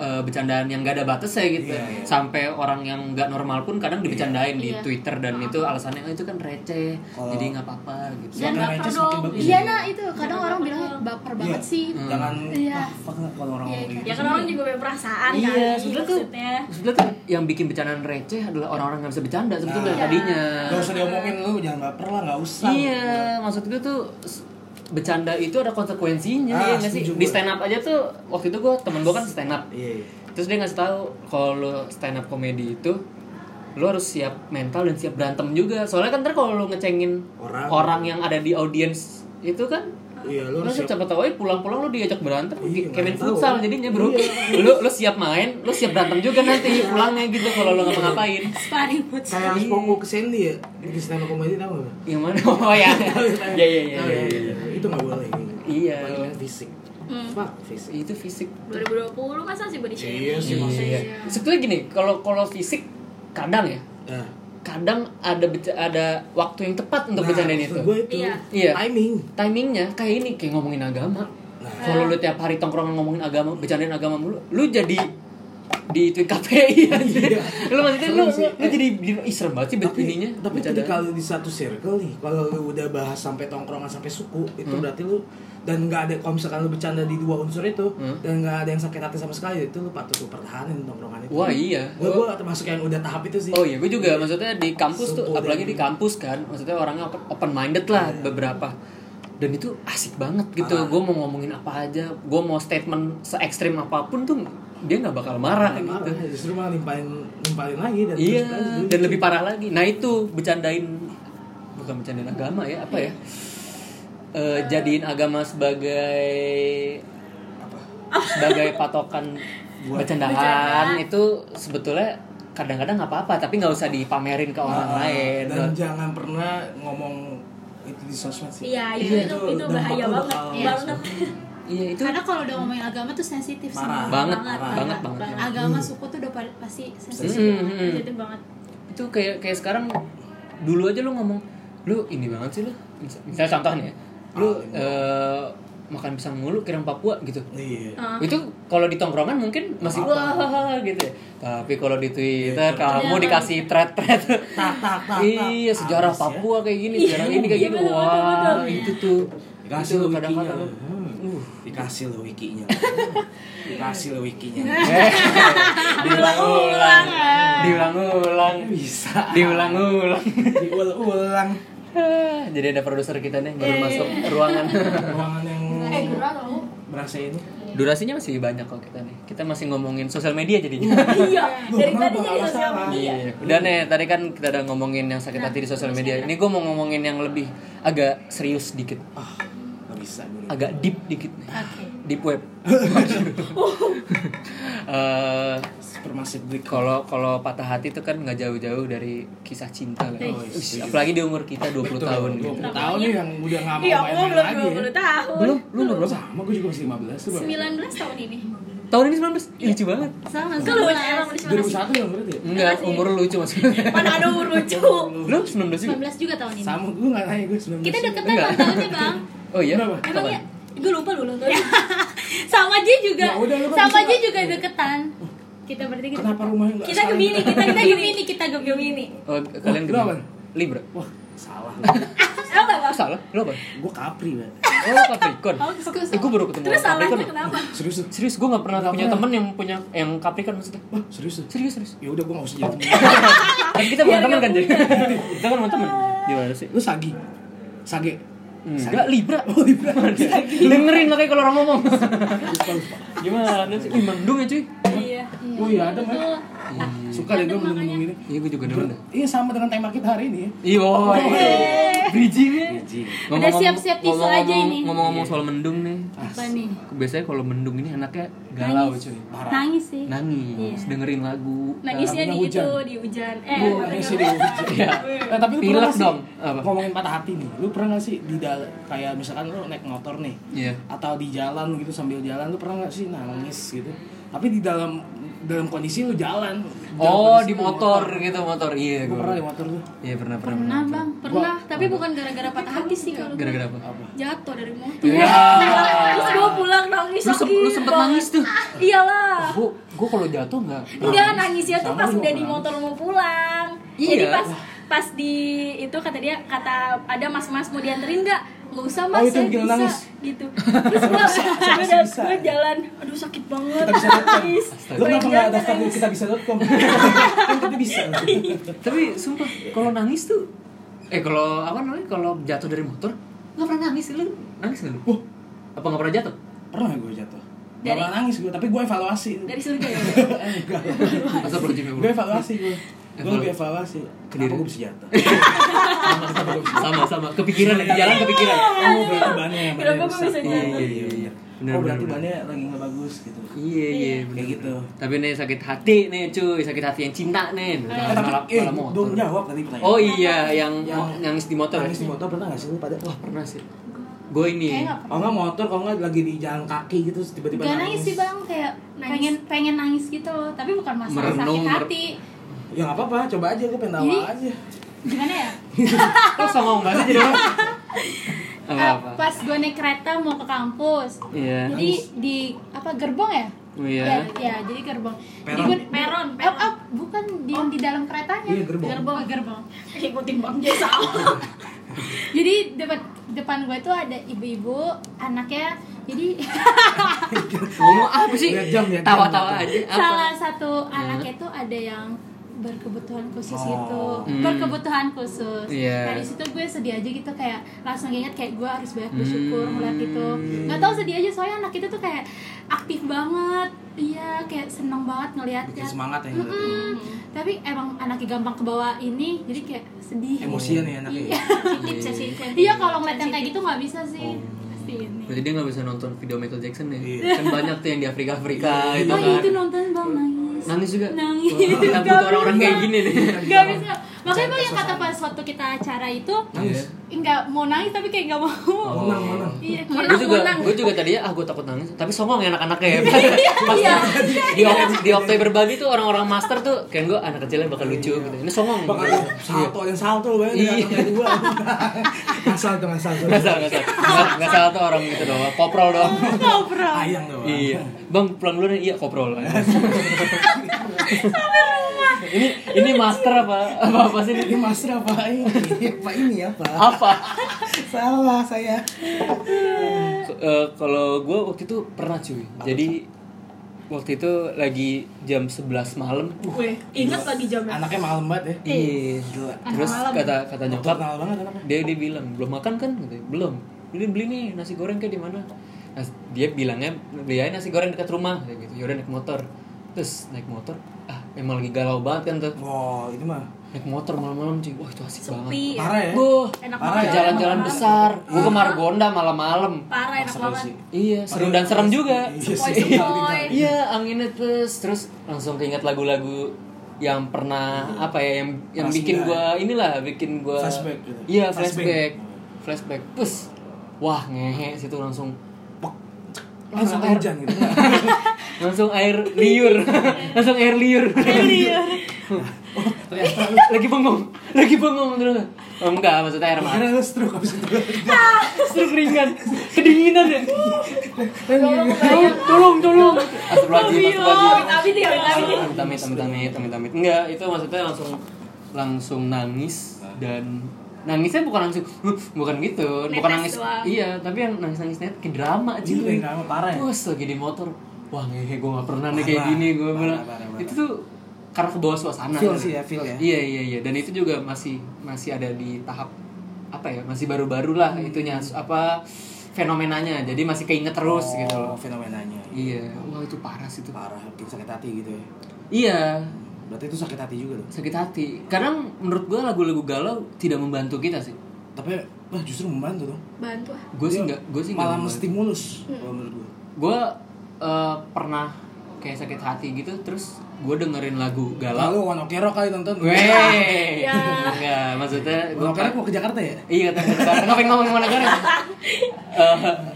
A: eh, bercandaan yang gak ada batasnya gitu.
B: Iya, iya.
A: Sampai orang yang nggak normal pun kadang dibecandain di
D: Iya.
A: Twitter dan itu alasannya "Ah, itu kan receh.
B: Kalau-
A: Jadi nggak apa-apa gitu.
C: Jangan
B: Semakin
C: baper
B: receh semakin
C: dong.
B: bagus.
D: Iya nah itu kadang orang bilang baper banget
B: Iya.
D: sih.
B: Jangan
D: Iya.
B: ah, fuck lah kalau orang
D: Iya,
B: ngomong
D: kan.
B: gitu.
C: ya kan orang juga punya perasaan
A: Iya,
C: kali
A: sebenarnya tuh-
C: maksudnya
A: Sebenarnya tuh yang bikin bercandaan receh adalah orang-orang nggak bisa bercanda sebetulnya
B: Nah.
A: tadinya.
B: Gak usah diomongin lu, jangan baper lah, gak usah.
A: Iya, maksud gue tuh s- bercanda itu ada konsekuensinya ya
B: Ah,
A: nggak sih?
B: setuju
A: Di
B: gue.
A: stand up aja tuh waktu itu gue temen gue kan stand up.
B: Iya, iya.
A: Terus dia ngasih tahu kalau lo stand up komedi itu lo harus siap mental dan siap berantem juga. Soalnya kan ntar kalau lo ngecengin
B: Orang.
A: orang, yang ada di audiens itu kan
B: Iya, lu
A: lo
B: harus siap.
A: siapa tahu aja pulang-pulang lo diajak berantem kayak main
B: Iya, nggak tahu. Iya.
A: futsal jadinya bro lo lo siap main lo siap berantem juga nanti pulangnya gitu kalau lo ngapa-ngapain
C: sparring buat
B: Kayak yang Pongo ke Sandy ya, di stand up comedy tau gak?
A: yang mana oh ya ya ya ya,
B: Tahu
A: ya,
B: ya?
A: ya, ya.
B: Itu gak boleh. gitu.
A: Iya.
B: Apalagi fisik.
D: Hmm.
B: Fuck fisik.
A: itu fisik
C: 2020 masa sih body
B: Iya
C: shaming
B: sih maksudnya.
A: sebetulnya gini kalau kalau fisik kadang ya
B: Nah,
A: kadang ada beca- ada waktu yang tepat untuk bercandain itu
B: Nah, maksud Gue itu
C: Iya.
A: Iya.
B: timing.
A: timingnya kayak ini kayak ngomongin agama
B: Nah.
A: kalau lu tiap hari tongkrongan ngomongin agama bercandain agama mulu lu jadi di tweet KPI aja lu maksudnya lu, lu, lu jadi ih serem banget sih bet- ininya
B: Iya. tapi
A: bercandaan.
B: ketika lu di satu circle nih kalau lu udah bahas sampai tongkrongan sampai suku itu
A: Hmm.
B: berarti lu dan nggak ada kalau misalkan lu bercanda di dua unsur itu
A: Hmm.
B: dan nggak ada yang sakit hati sama sekali itu lu patut lu pertahanin tongkrongan itu
A: Wah, iya.
B: gue gue termasuk yang udah tahap itu sih
A: Oh iya, gue juga maksudnya di kampus tuh,
B: Sempodan.
A: apalagi di kampus kan, maksudnya orangnya open minded lah
B: Iya.
A: beberapa. Dan itu asik banget gitu.
B: Parah.
A: Gue mau ngomongin apa aja, gue mau statement se ekstrim apapun tuh dia nggak bakal marah
B: Malah,
A: gitu.
B: ya justru malah limpahin limpahin lagi dan
A: Iya,
B: terus gitu. terang dulu.
A: dan lebih parah lagi. Nah itu bercandain, bukan bercandain agama ya, apa ya? Eh, jadiin agama sebagai sebagai patokan bercandaan itu sebetulnya kadang-kadang nggak apa-apa tapi nggak usah dipamerin ke orang
B: Ah,
A: lain
B: dan jangan pernah ngomong itu di sosmed sih
C: iya
B: Iya,
C: itu itu,
B: itu
C: itu bahaya
B: dampaknya
C: banget
B: bakal-
C: banget
A: iya itu
D: Karena kalau udah ngomongin agama tuh sensitif sih.
B: Parah. Hmm.
D: Bang.
A: banget
C: Banget,
A: banget
C: banget,
A: banget
D: Agama suku tuh udah pa- pasti sensitif.
A: Mm,
C: banget,
A: mm.
C: sensitif Iya, banget
A: itu kayak kayak sekarang dulu aja lu ngomong lu ini banget sih lu Mis- misalnya contohnya ya, lu
B: Ah, ini.
A: eh, makan pisang mulu kirim Papua gitu
B: iya
C: Ah.
A: itu kalau di tongkrongan mungkin masih wah gitu ya. tapi kalau di Twitter kamu dikasih thread-thread
B: iya. tak tak tak Iya,
A: iya sejarah Papua kayak gini sejarah ini kayak gini wah itu tuh
B: dikasih
A: itu
B: lo wikinya
A: kadang-kadang Uh.
B: Hmm. dikasih lo wikinya dikasih lo wikinya
A: diulang-ulang diulang-ulang
B: bisa
A: diulang-ulang
B: diulang-ulang
A: jadi ada produser kita nih
B: Iya,
A: baru masuk ruangan
B: ruangan yang
D: Eh, guru kamu?
B: berasa ini
A: durasinya masih banyak kok kita nih kita masih ngomongin sosial media jadinya
C: iya
B: Loh,
C: dari
B: kenapa
C: tadi
B: nggak
C: jadi sosial
B: masalah?
A: Iya, udah nih tadi kan kita udah ngomongin yang
C: Nah,
A: sakit hati di sosial media. Ini gue mau ngomongin yang lebih agak serius dikit,
B: ah nggak bisa gue
A: agak deep dikit nih.
D: Oke.
A: Deep web. Eh,
B: supermasif break
A: Kalau kalau patah hati itu kan nggak jauh-jauh dari kisah cinta lah.
B: Oh,
A: Ush,
B: iya.
A: Apalagi di umur kita 20 tahun gitu.
B: 20 tahun nih yang udah nggak mau
C: iya
B: main
C: aku belum
B: lagi ya.
C: 20 tahun
A: Belum, lu umur berapa?
B: sama gue juga masih 15 tuh Bang.
C: 19 tahun ini
A: Tahun ini 19. Ih, Lucu banget.
C: Iya.
D: Sama
C: Kau lu
D: sama.
C: emang udah
B: 2001
C: 19
B: yang berarti ya?
A: Enggak, umur lu lucu maksudnya.
C: mana ada umur lucu
A: Lu 19 juga?
D: 19 juga tahun ini.
B: sama gue nggak nanya gue 19
D: Kita deketan
A: Enggak.
D: bang tahunnya bang.
A: Oh iya.
B: Berapa?
D: Emang
A: Kapan?
D: ya? Gue lupa lu ulang tahun. sama aja juga.
B: Ya udah, lu kan
D: sama
B: bisa,
D: aja
B: Bang.
D: juga deketan. Kita berarti kita.
B: kenapa rumahnya nggak
C: gitu. kita
B: saling?
C: gemini kita kita gemini kita gemini
A: Oh, kalian
B: Lu apa?
A: Libra.
B: wah salah
C: apa bang
A: Salah, lu apa?
B: gue kapri banget
A: Oh Capricorn.
C: Oh, terus-
A: Eh, gue baru ketemu
C: Terus
A: orang
C: salahnya
A: Capricorn.
C: kenapa?
B: serius tuh
A: Serius gue gak pernah punya temen yang punya yang Capricorn maksudnya. Wah,
B: serius tuh
A: serius serius.
B: ya udah gue nggak usah jadi temen.
A: Kan kita
D: Iya,
A: bukan temen kan jadi. kita kan bukan temen. Gimana sih?
B: lu sagi sage
A: Enggak Hmm. Libra.
B: oh libra
A: Dengerin makanya kalau orang ngomong. Gimana sih? Ih, mendung ya cuy.
C: Iya.
B: oh iya ada mah
C: Tuh.
B: suka deh gue mendung-mendung ini
A: Iya gue juga demen.
B: iya sama dengan tema kita hari ini ya
A: Iya, oh, bridging ya. Iya.
D: Udah siap-siap tisu
A: ngomong-ngomong-
D: aja ini.
A: Ngomong-ngomong soal mendung nih.
D: Apa nih?
A: Biasanya kalau mendung ini anaknya galau cuy.
D: Nangis Iya. Nah. sih.
A: Nah, Nangis, dengerin lagu.
C: Nangisnya di
B: Lagunya
C: itu,
B: hujan.
C: di hujan. Eh,
B: Lu
C: apa
B: ngisi di
C: namanya?
A: Iya.
B: Nah, tapi lu pernah
A: Pilek
B: nggak sih
A: dong. Apa?
B: ngomongin patah hati nih. Lu pernah gak sih di dal- kayak misalkan lu naik motor nih
A: Iya.
B: atau di jalan gitu sambil jalan lu pernah gak sih nangis gitu? Tapi di dalam dalam kondisi lu jalan. dalam
A: Oh,
B: kondisi
A: di
B: lu
A: motor gitu, motor. Iya,
B: Gua
A: gue.
B: pernah di motor tuh.
A: Iya, pernah, pernah.
D: Pernah bang,
C: Pernah, tapi bukan gara-gara patah hati sih kalau gue.
A: Gara-gara apa?
C: jatuh dari motor.
A: Iya.
C: Terus gue pulang nangis
A: Lu, sem- lu
C: sakit
A: sempet
C: banget.
A: nangis tuh.
C: Iyalah.
A: Gue gue kalau jatuh enggak.
C: Enggak, nangisnya tuh
B: Sama
C: pas
B: lu
C: udah di
B: nangis.
C: motor mau pulang.
A: Iya.
C: Jadi pas pas di itu kata dia kata ada mas-mas mau dianterin nggak? Nggak usah
B: Oh,
C: mas,
B: itu
C: saya
B: bikin
C: bisa
B: nangis.
C: gitu. Terus gua gua
B: bisa,
C: udah-
B: bisa.
C: gua jalan, aduh sakit banget.
B: Kita bisa
C: Nangis.
B: Lu kenapa
C: Pengen
B: enggak daftar di
C: nangis.
B: kita bisa.com? Kan kita bisa.
A: Tapi sumpah, kalau nangis tuh eh kalau apa namanya? Kalau jatuh dari motor, enggak pernah nangis lu. Nangis enggak lu?
B: Wah,
A: Apa enggak pernah jatuh?
B: pernah gue jatuh. Gak
C: Dari-
B: pernah nangis gue, tapi gue evaluasi. Eh,
C: Dari surga ya.
B: Enggak.
A: Masa perlu jimmy
B: Gue evaluasi gue. Gue
A: Evalu-
B: lebih evaluasi.
A: Kediri.
B: Kenapa gue bisa jatuh?
A: Sama sama kepikiran ya, di jalan kepikiran.
B: Oh, berarti bannya bannya
C: Kenapa gua
A: Iya,
B: rusak.
C: bisa jatuh?
A: iya, iya, iya. Benar,
B: Oh, berarti
A: benar,
B: bannya lagi nggak bagus gitu.
A: Iya iya bener,
B: gitu.
A: bener. Tapi nih sakit hati nih cuy, sakit hati yang cinta nih.
B: Eh, tapi
A: Malah,
B: eh,
A: malah Nah, motor.
B: dong jawab tadi pertanyaan.
A: Oh iya yang,
B: Yang-
A: mo- nangis di motor.
B: Nangis di motor pernah nggak sih lu pada? Wah,
A: Pernah sih. Gue ini.
D: Kayaknya nggak
B: kalau nggak motor, kalau nggak lagi di jalan kaki gitu terus tiba-tiba
D: Gak nangis
B: nangis.
D: sih bang, kayak
C: Nangis.
D: pengen pengen nangis gitu loh Tapi bukan masalah
A: Merenung,
D: sakit
A: mer-
D: hati
B: Ya nggak apa-apa, coba aja gue pengen tawa
D: Jadi-
B: aja.
D: Gimana ya?
A: Kok sama enggak sih jadi
D: Iya.
A: orang? Apa
D: Eh,
A: apa?
D: pas gue naik kereta mau ke kampus
A: Iya.
D: Jadi di apa gerbong ya?
A: Oh, iya.
D: Ya, ya, jadi gerbong Jadi
B: Peron.
D: gua,
C: Peron,
D: Eh, eh, bukan di, di dalam keretanya
B: Iya, gerbong.
D: Gerbong, gerbong
C: Ikutin Bang Jesa.
D: Jadi depan depan gue tuh ada ibu-ibu anaknya jadi
A: Ngomong apa sih?
B: Lihat jam, lihat jam.
A: Tawa-tawa aja. Apa?
D: salah satu anaknya tuh ada yang berkebutuhan khusus
B: Oh.
D: gitu
A: Hmm.
D: berkebutuhan khusus
A: Iya.
D: dari situ gue sedih aja gitu kayak langsung ingat kayak gue harus banyak bersyukur
A: Hmm.
D: melihat itu nggak tahu sedih aja soalnya anak itu tuh kayak aktif banget iya kayak seneng banget ngeliatnya
B: Bikin semangat ya.
D: Mm-mm. tapi emang anaknya gampang kebawa ini jadi kayak sedih
B: Emosian ya anaknya.
D: iya
C: Sensitif, sensitif.
D: iya kalau ngeliat yang kayak gitu nggak bisa sih pasti ini
A: Oh. Berarti dia nggak bisa nonton video Michael Jackson ya?
B: Iya.
A: Kan banyak tuh yang di Afrika Afrika gitu
D: Oh itu
A: kan.
D: nonton bang nangis.
A: Nangis juga.
D: Nangis.
A: Wah, Kita
D: Gak
A: butuh orang-orang
D: bisa.
A: kayak gini nih.
D: Gak bisa. Makanya bang yang kata pas waktu kita acara itu
B: Nangis.
D: nggak mau nangis tapi kayak nggak mau.
A: Iya. Oh.
B: Menang, menang.
D: Iya.
A: Gue juga,
D: menang. Iya.
A: gue juga tadi ah gue takut nangis, tapi songong ya anak-anaknya ya. Pas di, di, di Oktober berbagi tuh orang-orang master tuh kayak gue anak kecilnya bakal lucu gitu. Ini songong.
B: Iya. Bakal salto yang salto banget di
A: Iya.
B: atas gua. Asal tuh asal tuh.
A: Nggak salah, nggak salah. Nggak- nggak salah tuh orang gitu doang, koprol
D: Oh.
A: doang.
D: Ngobrol.
B: Ayang doang.
A: Iya, bang pulang dulu nih. Iya koprol. Ini ini master apa apa apa sih ini?
B: Ini master apa ini? Apa ini
A: Ah.
B: apa?
A: Apa?
B: Salah saya.
A: K- eh, kalau gue waktu itu pernah cuy. Jadi waktu itu lagi jam 11 malam.
C: Weh, ingat lagi jamnya.
B: Anaknya malam banget ya.
A: Iya.
B: Gila.
A: Terus kata kata nyokap
B: Nocturnal banget anaknya.
A: dia dia bilang belum makan kan Katanya, belum ini beli nih nasi goreng kayak di mana nah, dia bilangnya beli aja nasi goreng dekat rumah kayak gitu yaudah naik motor terus naik motor ah emang lagi galau banget kan tuh
B: Wow, itu mah
A: naik motor malam-malam cuy wah itu asik
C: Sepi.
A: banget
B: parah ya.
A: Wah,
C: Enak
A: parah ya,
C: banget ya,
A: jalan-jalan
C: malam-malam.
A: besar gua ke Margonda malam-malam
C: Parah enak
B: Seru
C: banget.
B: sih.
A: iya seru dan serem juga
B: Iya sih.
C: Sepoi-sepoi.
A: iya anginnya terus terus langsung keinget lagu-lagu yang pernah apa ya yang yang
B: Masih
A: bikin
B: ada.
A: gua inilah bikin gua
B: Flashback gitu.
A: iya flashback flashback
B: Flashback.
A: pus wah ngehe situ langsung
B: Pok. Langsung hujan gitu.
A: langsung air liur langsung air liur lagi bengong lagi bengong terus oh, enggak maksudnya air mata
B: Karena lu stroke habis itu.
A: Nah, terus keringan kedinginan ya
C: Tolong,
A: tolong tolong tolong astagfirullahaladzim astagfirullahaladzim amit amit
C: Amin ya, amin.
A: amit amit amit amit enggak itu maksudnya langsung langsung nangis dan nangisnya bukan langsung "Huh," bukan gitu bukan nangis
C: Netes doang.
A: iya tapi yang nangis nangisnya kayak drama aja
B: Iya, kayak drama parah ya?
A: terus lagi di motor wah ngehe gue gak pernah nih
B: Parah,
A: kayak gini gue
B: parah,
A: bilang
B: parah, parah.
A: itu tuh karena ke bawah suasana
B: Feel sih ya, feel ya.
A: iya iya iya dan itu juga masih masih ada di tahap apa ya masih baru-baru lah itunya apa fenomenanya jadi masih keinget terus
B: Oh,
A: gitu loh
B: fenomenanya
A: iya wah itu parah sih tuh
B: parah bikin sakit hati gitu ya
A: iya
B: berarti itu sakit hati juga loh
A: sakit hati kadang menurut gue lagu-lagu galau tidak membantu kita sih
B: tapi wah justru membantu dong
C: bantu ah
A: gue sih nggak gue sih nggak
B: malah
A: membantu. Hmm.
B: menstimulus kalau menurut gue
A: gue pernah kayak sakit hati gitu terus gue dengerin lagu
B: lalu
A: galau
B: One Ok Rock kali nonton
A: Iya. Weh,
C: Ya.
A: enggak maksudnya
B: One
A: gue
B: Ok Rock mau ke Jakarta ya
A: iya kata gue ngapain ngomong mana negara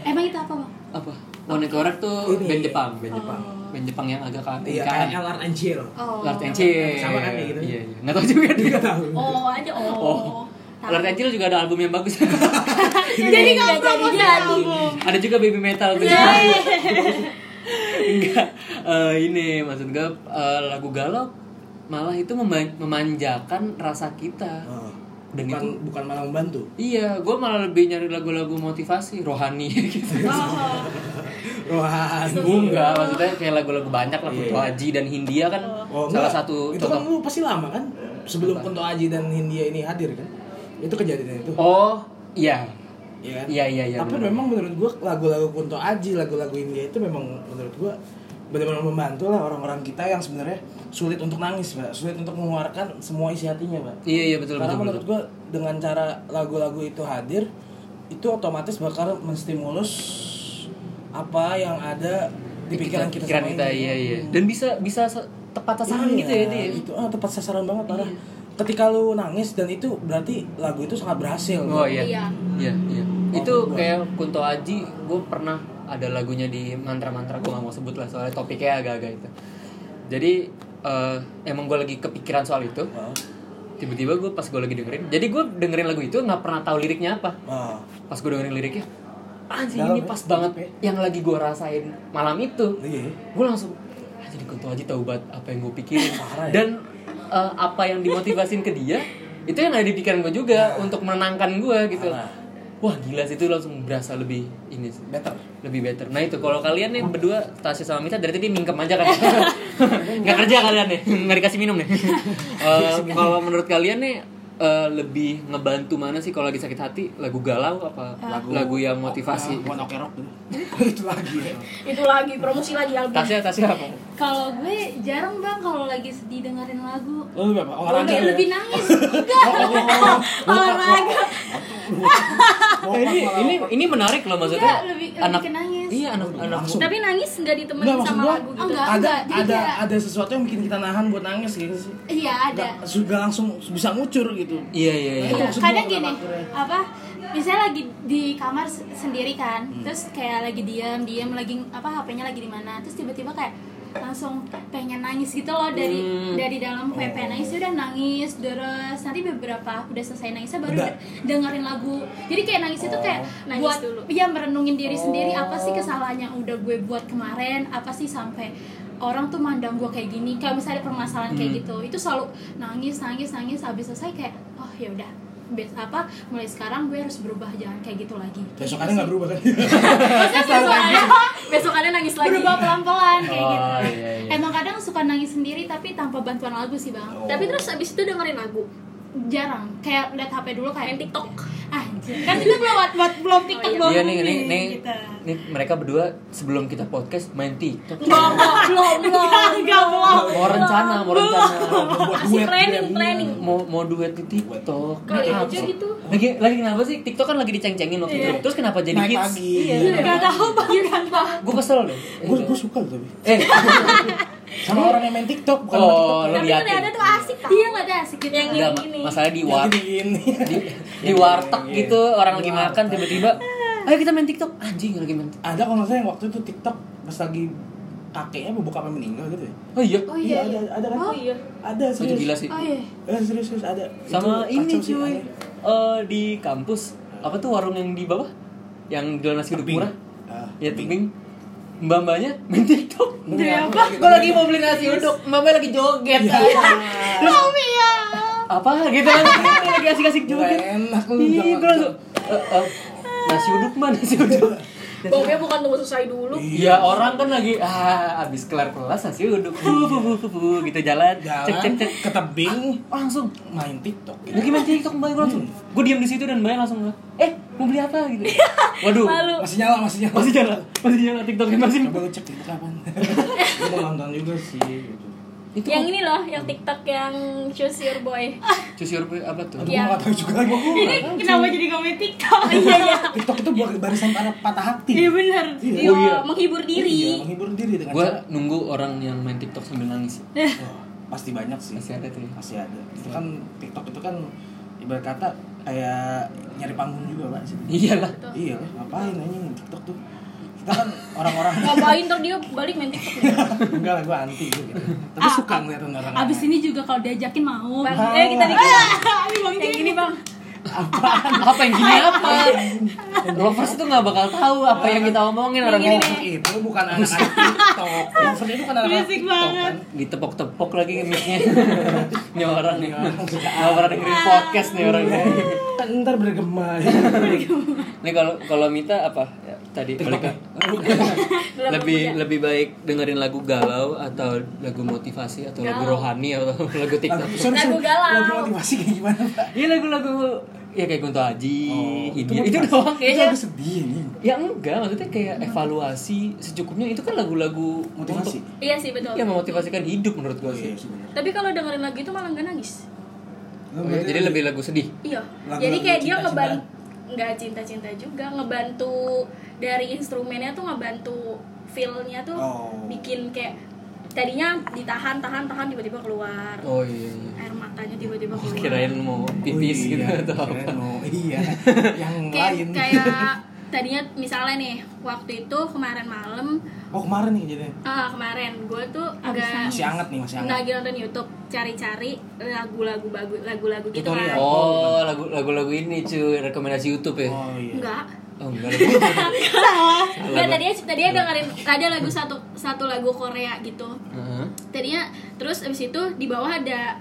A: Eh,
D: Emang itu apa bang?
A: apa One Korek tuh
B: Ini,
A: band Jepang
B: band Jepang.
A: band Jepang yang agak kan ke
B: iya
A: kanan.
B: kayak LR Angel
C: oh
A: Lord Encil
B: Sama kan kayak gitu?
A: iya iya nggak tahu juga dia
C: oh ada oh,
A: oh Lord Encil juga ada album yang bagus
B: Iya.
C: jadi kamu promosi album Iya,
A: ada juga baby metal tuh enggak eh, ini maksud gue eh, lagu galau malah itu mema- memanjakan rasa kita
B: Oh.
A: Dan
B: bukan
A: itu-
B: bukan malah membantu
A: iya gue malah lebih nyari lagu-lagu motivasi rohani gitu
C: Oh.
B: wah
A: enggak
B: Iya.
A: maksudnya kayak lagu-lagu banyak lah Kunto Aji dan Hindia kan salah satu
B: itu kan
A: contoh
B: lu pasti lama kan sebelum Kunto Aji dan Hindia ini hadir kan itu kejadian itu
A: oh iya
B: Iya kan?
A: Iya, iya, iya,
B: Tapi
A: bener.
B: memang menurut gua lagu-lagu Kunto Aji, lagu-lagu India itu memang menurut gua benar-benar membantu lah orang-orang kita yang sebenarnya sulit untuk nangis, Mbak. Sulit untuk mengeluarkan semua isi hatinya, Mbak.
A: iya iya betul betul,
B: Karena
A: betul.
B: menurut gua dengan cara lagu-lagu itu hadir, itu otomatis bakal menstimulus apa yang ada di pikiran kita
A: pikiran
B: selama
A: kita
B: ini.
A: iya iya dan bisa bisa se- tepat sasaran gitu ya Iya. dia
B: Itu ah, tepat sasaran banget parah. Ketika lu nangis dan itu berarti lagu itu sangat berhasil.
A: Oh
B: Mbak.
A: iya.
C: Iya.
A: Iya, iya.
B: Oh,
A: Itu kayak Kunto Aji, gue pernah ada lagunya di mantra-mantra gue gak mau sebut lah soalnya topiknya agak-agak itu. Jadi eh, emang gue lagi kepikiran soal itu.
B: Ah,
A: Tiba-tiba gue pas gue lagi dengerin, jadi gue dengerin lagu itu nggak pernah tahu liriknya apa.
B: ah.
A: Pas gue dengerin liriknya, anjing ini
B: Dalam ya?
A: pas banget yang lagi gue rasain malam itu.
B: Iya.
A: Gue langsung "Ah, anjing Kunto Aji tahu banget apa yang gue pikirin
B: Parah ya?
A: dan eh, apa yang dimotivasin ke dia itu yang ada di pikiran gue
B: Nah.
A: juga untuk menenangkan gue gitu.
B: Parah.
A: Wah gila sih itu langsung berasa lebih ini sih
B: Better.
A: lebih better. Nah itu kalau kalian nih berdua Tasya sama Mita dari tadi mingkem aja kan,
B: Iya.
A: nggak kerja kalian nih, nggak dikasih minum nih. Eh, kalau menurut kalian nih eh, lebih ngebantu mana sih kalau lagi sakit hati lagu galau apa lagu, yang motivasi?
B: One Ok Rock dulu. Ah, itu lagi ya.
C: itu lagi promosi lagi album
A: Tasya Tasya apa?
D: Kalau gue jarang bang kalau lagi sedih dengerin lagu.
B: Lu apa? Olahraga. lu
D: Lebih
B: ya?
D: lebih nangis. Enggak. Olahraga.
A: Oh, ini ini ini menarik loh maksudnya.
D: Enggak, Iya, lebih
A: anak
D: lebih ke nangis.
A: Iya anak anak.
B: Langsung.
C: tapi nangis nggak ditemenin
B: Enggak maksud
C: sama
B: gua.
C: lagu gitu
D: enggak,
B: ada
D: enggak. Jadi
B: ada
D: kayak-
B: ada sesuatu yang bikin kita nahan buat nangis gitu sih.
D: Iya ada.
B: Enggak sudah langsung bisa ngucur gitu.
A: Iya iya iya.
D: Iya,
B: maksud
D: kadang
B: gua
D: gini
B: kenapa akhirnya?
D: apa misalnya lagi di kamar se- sendiri kan
B: Hmm.
D: terus kayak lagi diam diam lagi apa HP-nya lagi di mana terus tiba-tiba kayak langsung pengen nangis gitu loh dari
B: Hmm.
D: dari dalam kayak
B: Oh.
D: pengen nangis udah nangis terus nanti beberapa udah selesai nangisnya baru
B: Udah. Oh.
D: dengerin lagu jadi kayak nangis itu kayak
C: Nangis
D: buat
C: dulu.
D: iya merenungin diri sendiri apa sih kesalahan yang udah gue buat kemarin apa sih sampai orang tuh mandang gue kayak gini kalau misalnya ada permasalahan kayak gitu itu selalu nangis nangis nangis habis selesai kayak oh ya udah Bes- apa mulai sekarang gue harus berubah jangan kayak gitu lagi
B: Besok ada enggak berubah kan?
D: Maksudnya besokannya
C: besok ada nangis lagi
D: berubah pelan pelan kayak
A: Oh,
D: gitu
A: iya, iya.
D: emang kadang suka nangis sendiri tapi tanpa bantuan lagu sih bang
C: tapi terus abis itu dengerin lagu
D: jarang kayak lihat hp dulu kayak
C: Main TikTok.
D: anjir kan itu belum buat belum tiktok belum
A: Iya nih nih
D: booming,
A: nih,
D: gitu.
A: nih mereka berdua sebelum kita podcast main TikTok.
C: belum belum belum
D: enggak belum
A: Mau rencana, mau rencana.
B: Buat
C: masih
B: duet,
C: planning
B: duet.
C: planning
A: mau mau duet di TikTok.
C: Kali
A: Kenapa
C: aja
A: sih?
C: gitu.
A: Lagi lagi kenapa sih TikTok kan lagi diceng-cengin waktu
D: Iya.
A: itu. Terus kenapa jadi hits?
B: Naik
A: Iya,
B: lagi. Iya.
D: nggak tahu bang
A: Gue kesel deh.
B: Gue gue suka loh tapi.
A: Eh,
B: Sama orang yang main TikTok bukan sama
A: oh lo
C: tapi
A: liatin.
C: ternyata tuh asik tau
D: iya nggak ada asik gitu
C: Yang
A: Enggak,
C: gini.
A: masalah di
B: TikTok.
A: war
B: Jadi gini.
A: di, di
B: iya,
A: warteg gitu orang lagi makan tiba-tiba ayo kita main TikTok anjing lagi main.
B: Ada kalau nggak salah yang waktu itu TikTok pas lagi kakeknya mau bokapnya meninggal gitu ya.
A: Oh iya.
D: oh iya
B: ada
D: iya
B: ada kan?
D: Oh,
C: iya.
B: Ada
A: Itu
B: serius.
A: gila sih.
D: oh iya
B: Eh, serius serius ada.
A: Sama
B: Itu
A: ini
B: kacau sih,
A: cuy.
B: aneh.
A: Eh di kampus apa tuh warung yang di bawah? Yang jual nasi uduk
B: Tebing.
A: murah?
B: Ah,
A: Ya tebing. Mbak-mbaknya main TikTok.
B: Iya,
A: Gue lagi mau beli nasi uduk, mbak lagi joget. Terus-
D: Mami ya
A: apa gitu kan lagi asik-asik juga
B: Nggak
A: gitu.
B: enak lu,
A: Ih,
B: jangan-
A: gue langsung eh, eh, nasi uduk mah nasi uduk.
C: Baunya bukan tunggu selesai dulu.
A: Iya orang kan lagi ah abis kelar kelas nasi uduk bu bu bu bu, bu, gitu jalan, cek cek
B: jalan
A: cek
B: ke tebing
A: Oh, langsung
B: main TikTok gitu.
A: lagi main TikTok mbak gue langsung gue diam di situ dan mbak langsung eh mau beli apa gitu waduh
C: Iya. Malu.
B: Masih nyala, masih nyala.
A: masih jalan masih jalan TikTok masih
B: Coba lu cek itu kapan. Lu mau nonton juga sih gitu.
A: itu
C: Yang ini loh, yang TikTok yang choose your boy.
A: cuci urbe apa tuh
B: Aduh,
C: Iya.
B: gua gak tahu juga lagi gua.
C: Ini kenapa jadi ngomongin TikTok? Iya iya.
B: TikTok itu buat barisan para patah hati.
C: Iya benar.
B: Iya.
C: Iya,
A: Oh, iya.
C: menghibur
B: Iya,
C: diri.
B: menghibur diri dengan
A: gue
B: cara
A: nunggu orang yang main TikTok sambil nangis
B: Wah, pasti banyak sih.
A: masih ada tuh ya.
B: Pasti ada. Itu kan TikTok itu kan ibarat kata kayak nyari panggung juga, Pak. sih.
A: iyalah
B: Iya, ngapain anjing TikTok tuh? Kita kan orang-orang
C: Ngapain ntar dia balik main TikTok?
B: enggak lah gua anti gua gitu.
C: Ah,
B: Tapi suka ngeliatin orang.
D: Abis ini juga kalau diajakin mau.
C: Bang,
B: Ah.
C: eh kita dikit. Yang gini bang.
A: apa yang gini apa lovers tuh nggak bakal tahu apa yang kita omongin orang
C: Yang
A: ngomong
C: gini
B: itu bukan anak-anak TikTok. Maksudnya itu bukan anak-anak
C: Berisik
B: TikTok
C: banget.
B: kan.
A: ditepok-tepok lagi mic-nya ini orang nih nggak pernah dengerin podcast nih orang nih
B: Kan ntar bergema.
A: ini kalau kalau Mita apa Ya, tadi balik ke- lebih lebih baik dengerin lagu galau atau lagu motivasi atau lagu rohani atau lagu
B: Lagu
A: TikTok
B: sorry,
C: Lagu
B: sorry.
C: galau.
B: Lagu motivasi kayak gimana, Pak?
A: Iya lagu-lagu ya kayak Kunto Aji,
B: Oh, itu
A: India iya. itu
B: motivasi.
A: doang
B: Itu
A: kayaknya.
B: lagu sedih ini.
A: Ya enggak, maksudnya kayak evaluasi secukupnya itu kan lagu-lagu
B: Motivasi.
A: untuk-
C: Iya sih betul.
A: ya memotivasikan hidup menurut gue
B: Oh,
A: sih.
B: iya sih bener.
C: Tapi kalau dengerin lagu itu malah nggak nangis.
A: Oh, ya, jadi lebih lagu sedih.
C: Iya.
B: Lagu-lagu
C: Jadi kayak dia
B: cinta-cintaan.
C: ngebantu nggak cinta-cinta juga ngebantu dari instrumennya tuh ngebantu feel-nya tuh
B: Oh.
C: bikin kayak tadinya ditahan tahan tahan tiba-tiba keluar
A: Oh iya. iya.
C: air matanya tiba-tiba keluar
A: Oh, Kirain mau pipis
B: Oh,
A: gitu
B: iya.
A: atau apa.
B: Kirain mau- Iya. Yang
C: kayak
B: lain.
C: kayak tadinya misalnya nih waktu itu kemarin malam
B: Oh, kemarin nih kejadian.
C: ah, kemarin gue tuh
D: Abis
C: agak
B: Masih hangat nih, masih hangat.
C: lagi nonton YouTube cari-cari lagu-lagu bagu- lagu-lagu gitu
B: Tutorial.
C: kan
A: Oh, lagu- lagu-lagu ini cuy, rekomendasi YouTube ya.
B: Oh iya.
C: enggak
A: Oh, enggak. lagu-
C: enggak tadinya tadinya dengerin ada lagu satu satu lagu Korea gitu
A: Heeh.
C: tadinya terus abis itu di bawah ada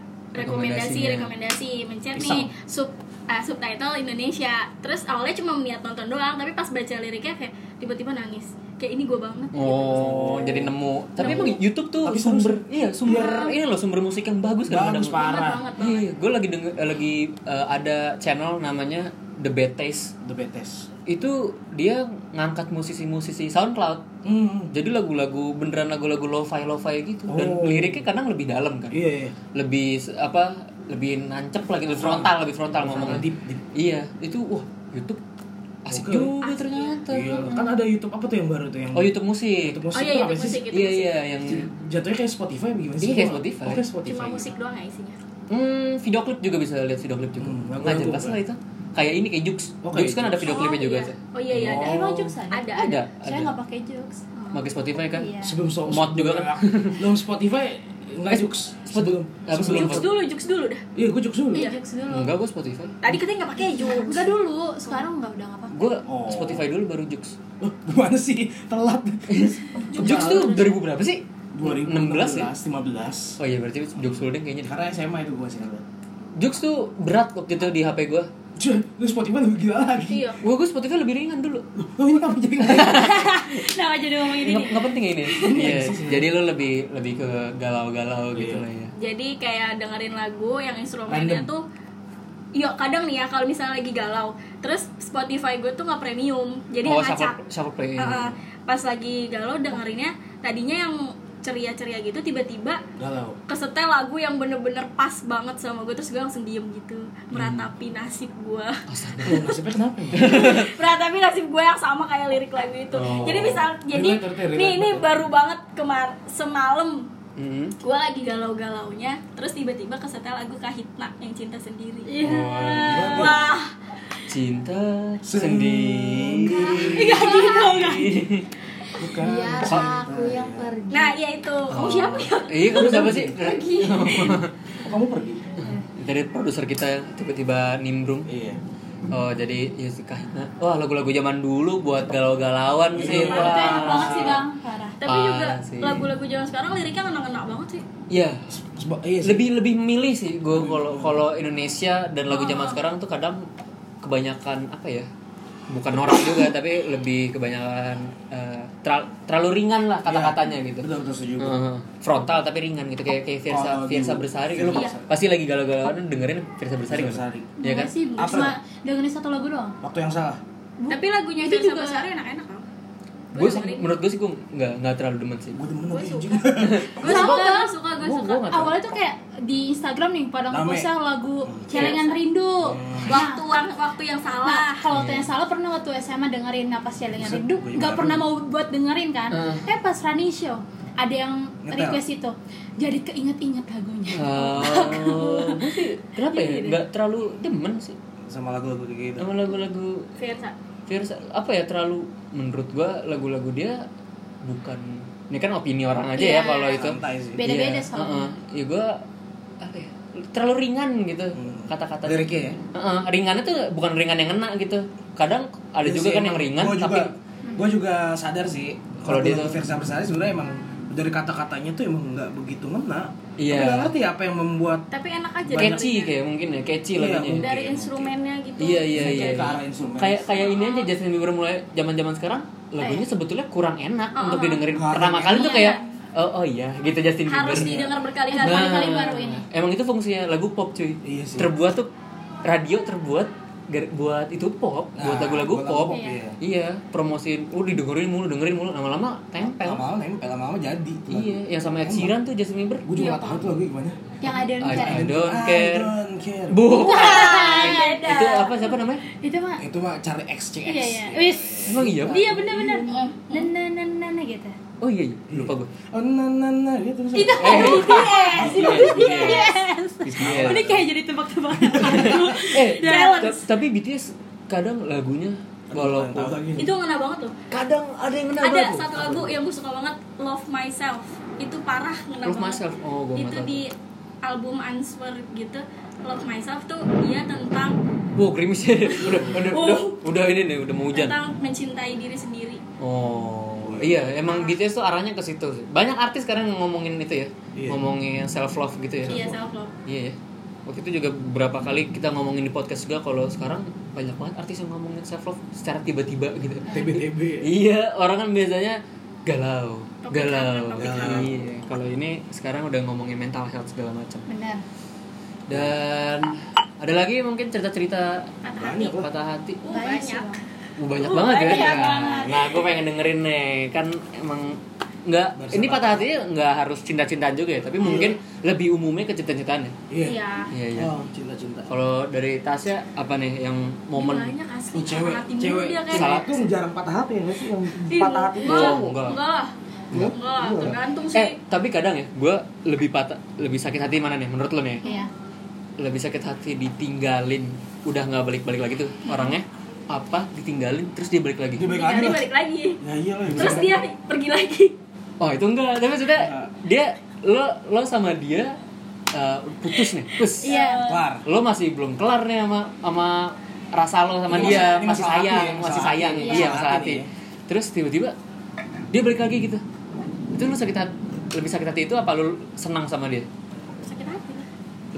A: Rekomendasinya.
C: rekomendasi rekomendasi mencet nih sub ah, subtitle Indonesia terus awalnya cuma niat nonton doang tapi pas baca liriknya kayak tiba-tiba nangis kayak ini gue banget
A: Oh, jadi nemu. Tapi emang YouTube tuh
B: Tapi seru
A: sumber, iya sumber, ini loh sumber musik yang bagus kan.
B: Bagus parah.
C: banget banget
A: Iya, gue lagi denger, eh, lagi eh, ada channel namanya The Bad Taste.
B: The Betes.
A: Itu dia ngangkat musisi-musisi SoundCloud.
B: Hmm.
A: Jadi lagu-lagu beneran lagu-lagu lo-fi lo-fi gitu dan
B: Oh.
A: liriknya kadang lebih dalam kan.
B: Iya, iya.
A: Lebih se- apa? Lebih nancep lagi lebih frontal, lebih frontal ngomongnya.
B: Deep, deep.
A: Iya, itu wah YouTube asik
B: Oke.
A: juga ternyata.
B: Iya, kan ada YouTube apa tuh yang baru tuh yang
A: Oh, YouTube musik.
B: YouTube
C: oh
B: musik
C: iya
B: tuh
C: itu
B: apa sih?
C: musik itu
A: iya,
C: musik.
A: iya, yang
B: Jatuhnya kayak Spotify apa gimana sih?
A: Iya, kayak
B: Gua-
A: Spotify.
B: Oh, kayak Spotify.
C: cuma musik doang nggak isinya
A: Hmm, video klip juga bisa lihat video klip juga.
B: Hmm,
A: Nggak
B: lagu-lagu
A: jelas lah
B: kan?
A: itu. Kayak ini kayak Jux.
B: Oh, kayak
A: Jux kan ada video klipnya juga.
C: iya. oh iya iya ada
B: Oh.
D: Emang jokes ada?
C: ada ada
A: Ada.
D: Saya
A: ada.
D: nggak pakai jokes.
A: Pakai Spotify kan?
C: ya.
D: Iya.
B: Sebelum so
A: Mod juga kan?
B: Belum Spotify enggak
A: Eh,
B: juks.
A: sebelum- apa, sebelum
C: juks dulu juks dulu dah
B: Iya, gue juks dulu.
D: Iya. Jokes dulu.
A: Enggak, gue Spotify.
C: tadi katanya nggak pakai juks
D: Enggak dulu, sekarang enggak udah enggak pakai.
A: Gue
B: Oh.
A: Spotify dulu baru Jux.
B: Loh, gimana sih? Telat.
A: Jux tuh 2000 berapa sih?
B: 2016
A: ya?
B: 15.
A: Oh iya berarti Jux dulu deh kayaknya.
B: Karena SMA itu gue sih kan.
A: Jux tuh berat waktu itu di HP gue.
B: Cuy, lu Spotify lebih gila lagi.
C: iya
A: Gue gue Spotify lebih ringan dulu.
B: Lu ini apa jadi gitu? ngapain?
C: nah jadi ngomongin ini
A: Nggak nggak penting ini. Iya. Jadi lu lebih lebih ke galau-galau gitu
B: Iya.
A: lah ya.
C: jadi kayak dengerin lagu yang instrumennya
B: Random.
C: tuh Iya, kadang nih ya kalau misalnya lagi galau, terus Spotify gue tuh nggak premium, jadi
A: oh,
C: yang ngacak.
A: shuffle, shuffle play.
C: Heeh. pas lagi galau dengerinnya, tadinya yang ceria-ceria gitu, tiba-tiba
B: Galau.
C: kesetel lagu yang bener-bener pas banget sama gue, terus gue langsung diem gitu, meratapi nasib gue,
B: Lu nasibnya kenapa ya?
C: meratapi nasib gue yang sama kayak lirik lagu itu.
B: Oh.
C: Jadi misal, jadi
B: Relate, relate,
C: nih ini
B: relate.
C: baru banget kemar semalam
A: Hmm.
C: gue lagi galau-galaunya terus tiba-tiba kesetel lagu kahitna yang cinta sendiri
D: Iya.
A: Wah.
C: wah
A: Cinta
B: Sendiri.
A: sendiri.
C: nggak gitu nggak
B: Bukan.
C: Iya.
D: Biar aku yang pergi.
C: nah ya itu kamu siapa ya
A: Iya, kamu siapa sih?
C: lagi
B: Oh, kamu pergi?
A: Dari produser kita tiba-tiba nimbrung.
B: Iya.
A: Oh, jadi Yusika Hikna. Wah, lagu-lagu zaman dulu buat galau-galauan sih.
D: Parah, itu
A: Wah.
D: enak Iya, banget sih bang parah
C: Tapi
A: Parah
C: juga
A: sih.
C: lagu-lagu zaman sekarang liriknya ngena-ngena banget sih.
A: Iya.
B: Seba- iya sih.
A: Lebih lebih milih sih gue kalau kalau Indonesia dan lagu
D: Oh.
A: zaman sekarang tuh kadang kebanyakan apa ya? Bukan norak juga tapi lebih kebanyakan eh, tra- terlalu ringan lah kata-katanya gitu.
B: betul betul setuju
A: Heeh. frontal tapi ringan gitu kayak kayak Fiersa
B: Kalau di
A: Fiersa Bersari
B: film
A: gitu.
B: Iya.
A: Pasti lagi galau-galauan dengerin Fiersa Bersari nggak?
B: Fiersa Bersari.
A: Iya
D: Enggak
A: kan?
D: sih
B: Apa?
D: cuma dengerin satu lagu doang
B: waktu yang salah
C: Tapi lagunya
D: Itu
C: itu juga
D: juga-
C: Sari enak-enak kan.
A: Gue menurut gue sih gue nggak nggak terlalu demen sih.
B: gue demen
C: Gue
B: lagi
C: suka.
B: anjing
C: Gue
D: Sama.
C: suka, gue suka, gue
A: Gua-
C: suka.
A: gua nggak tahu.
D: awalnya tuh kayak di Instagram nih pada
B: Rame.
D: ngepost yang lagu celengan rindu
C: Waktu waktu yang salah.
D: Nah, kalau tuh yang salah pernah waktu SMA dengerin nah pas celengan
B: Buset,
D: rindu
B: gua juga
D: nggak
B: baru.
D: pernah mau buat dengerin kan
A: Eh.
D: eh pas running show ada yang
B: Ngetel.
D: request itu jadi keinget-inget
A: Hmm.
D: lagunya
A: Oh, gue sih kenapa ya? Nggak terlalu demen sih
B: sama lagu-lagu kayak gitu
A: sama lagu-lagu
C: Fiersa.
A: Fiersa apa ya terlalu menurut gua lagu-lagu dia bukan ini kan opini orang aja
D: Iya,
A: ya kalau itu
B: Gitu. santai sih
D: Beda-beda
A: Iya,
D: soalnya.
A: heeh. ya gua apa ya terlalu ringan gitu kata-kata
B: liriknya ya
A: Heeh, ringannya tuh bukan ringan yang ngena gitu kadang ada
B: Iya
A: juga kan yang ringan
B: gue
A: tapi
B: juga gue juga sadar sih
A: Kalau
B: kalau
A: dia
B: dia
A: tuh-
B: Versa Bersari sebenarnya emang dari kata-katanya tuh emang nggak begitu ngena
A: Iya.
B: Tapi nggak ngerti apa yang membuat
C: Tapi enak aja
A: catchy
C: dengerin.
A: kayak mungkin ya catchy
B: Iya,
A: lagunya
B: mungkin.
C: Dari instrumennya gitu.
A: iya iya
B: Bisa
A: iya
B: kayak ke arah instrumen.
A: kayak kayak ini aja Justin Bieber mulai zaman zaman sekarang lagunya sebetulnya kurang enak
D: Oh,
A: untuk didengerin
B: Kurang
A: pertama kali tuh
D: Iya.
A: kayak oh oh iya gitu Justin Bieber
C: Harus didengar berkali-kali.
A: Nah,
D: kali baru ini.
A: emang itu fungsinya lagu pop cuy
B: Iya sih.
A: terbuat tuh radio terbuat gar- buat itu pop buat
B: Nah,
A: lagu-lagu
B: buat lagu
A: pop,
B: pop, iya.
A: iya promosiin oh didengerin mulu dengerin mulu lama-lama tempel
B: lama-lama nempel lama-lama jadi
A: iya yang sama Ed Sheeran tuh Justin Bieber
B: gue juga nggak tahu tuh lagu gimana
D: yang ada yang
A: I, I
D: kayak
A: don't
B: I
A: care
B: don't care.
A: bukan itu apa siapa namanya
D: itu mah
B: itu mah cari XCX
D: iya iya wis
A: emang iya Pak?
D: iya bener-bener
C: Mm.
D: na na na na na gitu
A: oh iya iya lupa gue
B: oh na na na gitu terus
C: Eh.
D: itu kayak BTS itu BTS
A: BTS.
D: ini kayak jadi tebak-tebakan
A: eh
D: Balance.
A: ta- tapi BTS kadang lagunya
B: Nggak tahu
A: walaupun
B: lagi
C: Itu ngena banget tuh.
A: kadang ada yang kenal
C: Ada
A: lagu.
C: satu lagu yang gue suka banget, Love Myself. Itu parah ngena
A: Love
C: banget.
A: Myself. Oh, gua nggak
C: Itu
A: tahu.
C: di album Answer gitu. Love Myself tuh dia tentang
A: Wow, gerimis ya. udah, udah,
C: Oh.
A: udah, udah ini nih, udah mau hujan.
C: tentang mencintai diri sendiri.
A: Oh, iya, emang BTS tuh arahnya ke situ. sih. Banyak artis sekarang yang ngomongin itu ya,
B: Iya.
A: ngomongin self love gitu ya.
C: Iya, self love.
A: Iya ya. Waktu itu juga beberapa kali kita ngomongin di podcast juga kalau sekarang banyak banget artis yang ngomongin self love secara tiba-tiba gitu.
B: TBTB
A: Iya, orang kan biasanya galau,
C: Topik
A: galau.
C: hangat, topik hangat.
A: Iya, kalau ini sekarang udah ngomongin mental health segala macam.
D: bener
A: Dan ada lagi mungkin cerita-cerita
C: Patah
B: banyak
C: hati.
B: lah
A: patah hati.
C: Uh,
D: Oh, Banyak sih,
C: banyak.
D: Bang.
A: Uh, banyak
C: Uh,
A: banget ya.
C: banyak
A: Nah,
C: banget.
A: Nah, gue pengen dengerin nih. Kan emang nggak
B: Bersabar.
A: ini patah hatinya nggak harus cinta-cintaan juga ya, tapi mungkin lebih umumnya ke cinta-cintaan ya.
B: iya
C: Iya.
A: Iya, iya.
B: oh cinta-cinta
A: Kalau dari Tasya apa nih yang momen
C: Iya, Banyak asli.
B: Lu Oh, cewek,
C: patah hati mulu
B: cewek,
C: dia kayak. gitu. Iya.
A: Salah.
B: cewek tuh jarang patah hati ya nggak sih yang
C: Ih,
B: patah hati itu
C: enggak,
A: doang, enggak.
C: enggak. Enggak.
B: Enggak?
C: Enggak,
B: Enggak.
C: tergantung sih.
A: Eh, tapi kadang ya gue lebih patah lebih sakit hati mana nih menurut lo nih?
D: iya
A: Lebih sakit hati ditinggalin, udah nggak balik-balik lagi tuh orangnya apa ditinggalin terus dia balik lagi
B: dia balik lagi
C: Jadi
B: lah
C: balik lagi.
B: ya iya lah
C: Terus dia pergi lagi.
A: oh itu enggak tapi sudah
B: Enggak.
A: dia lo lo sama dia eh, putus nih putus
D: iya
C: Eh,
B: kelar
A: lo masih belum kelar nih sama sama rasa lo sama
B: Ini
A: dia
B: masih- ini
A: masih
B: masalah hati
A: sayang
B: ya,
A: masih
B: masalah
A: sayang
B: hati.
A: iya
B: Masalah
A: masalah
B: hati ya.
A: hati terus tiba-tiba dia balik lagi gitu itu lo sakit hati lebih sakit hati itu apa lo senang sama dia
C: Sakit hati. lah.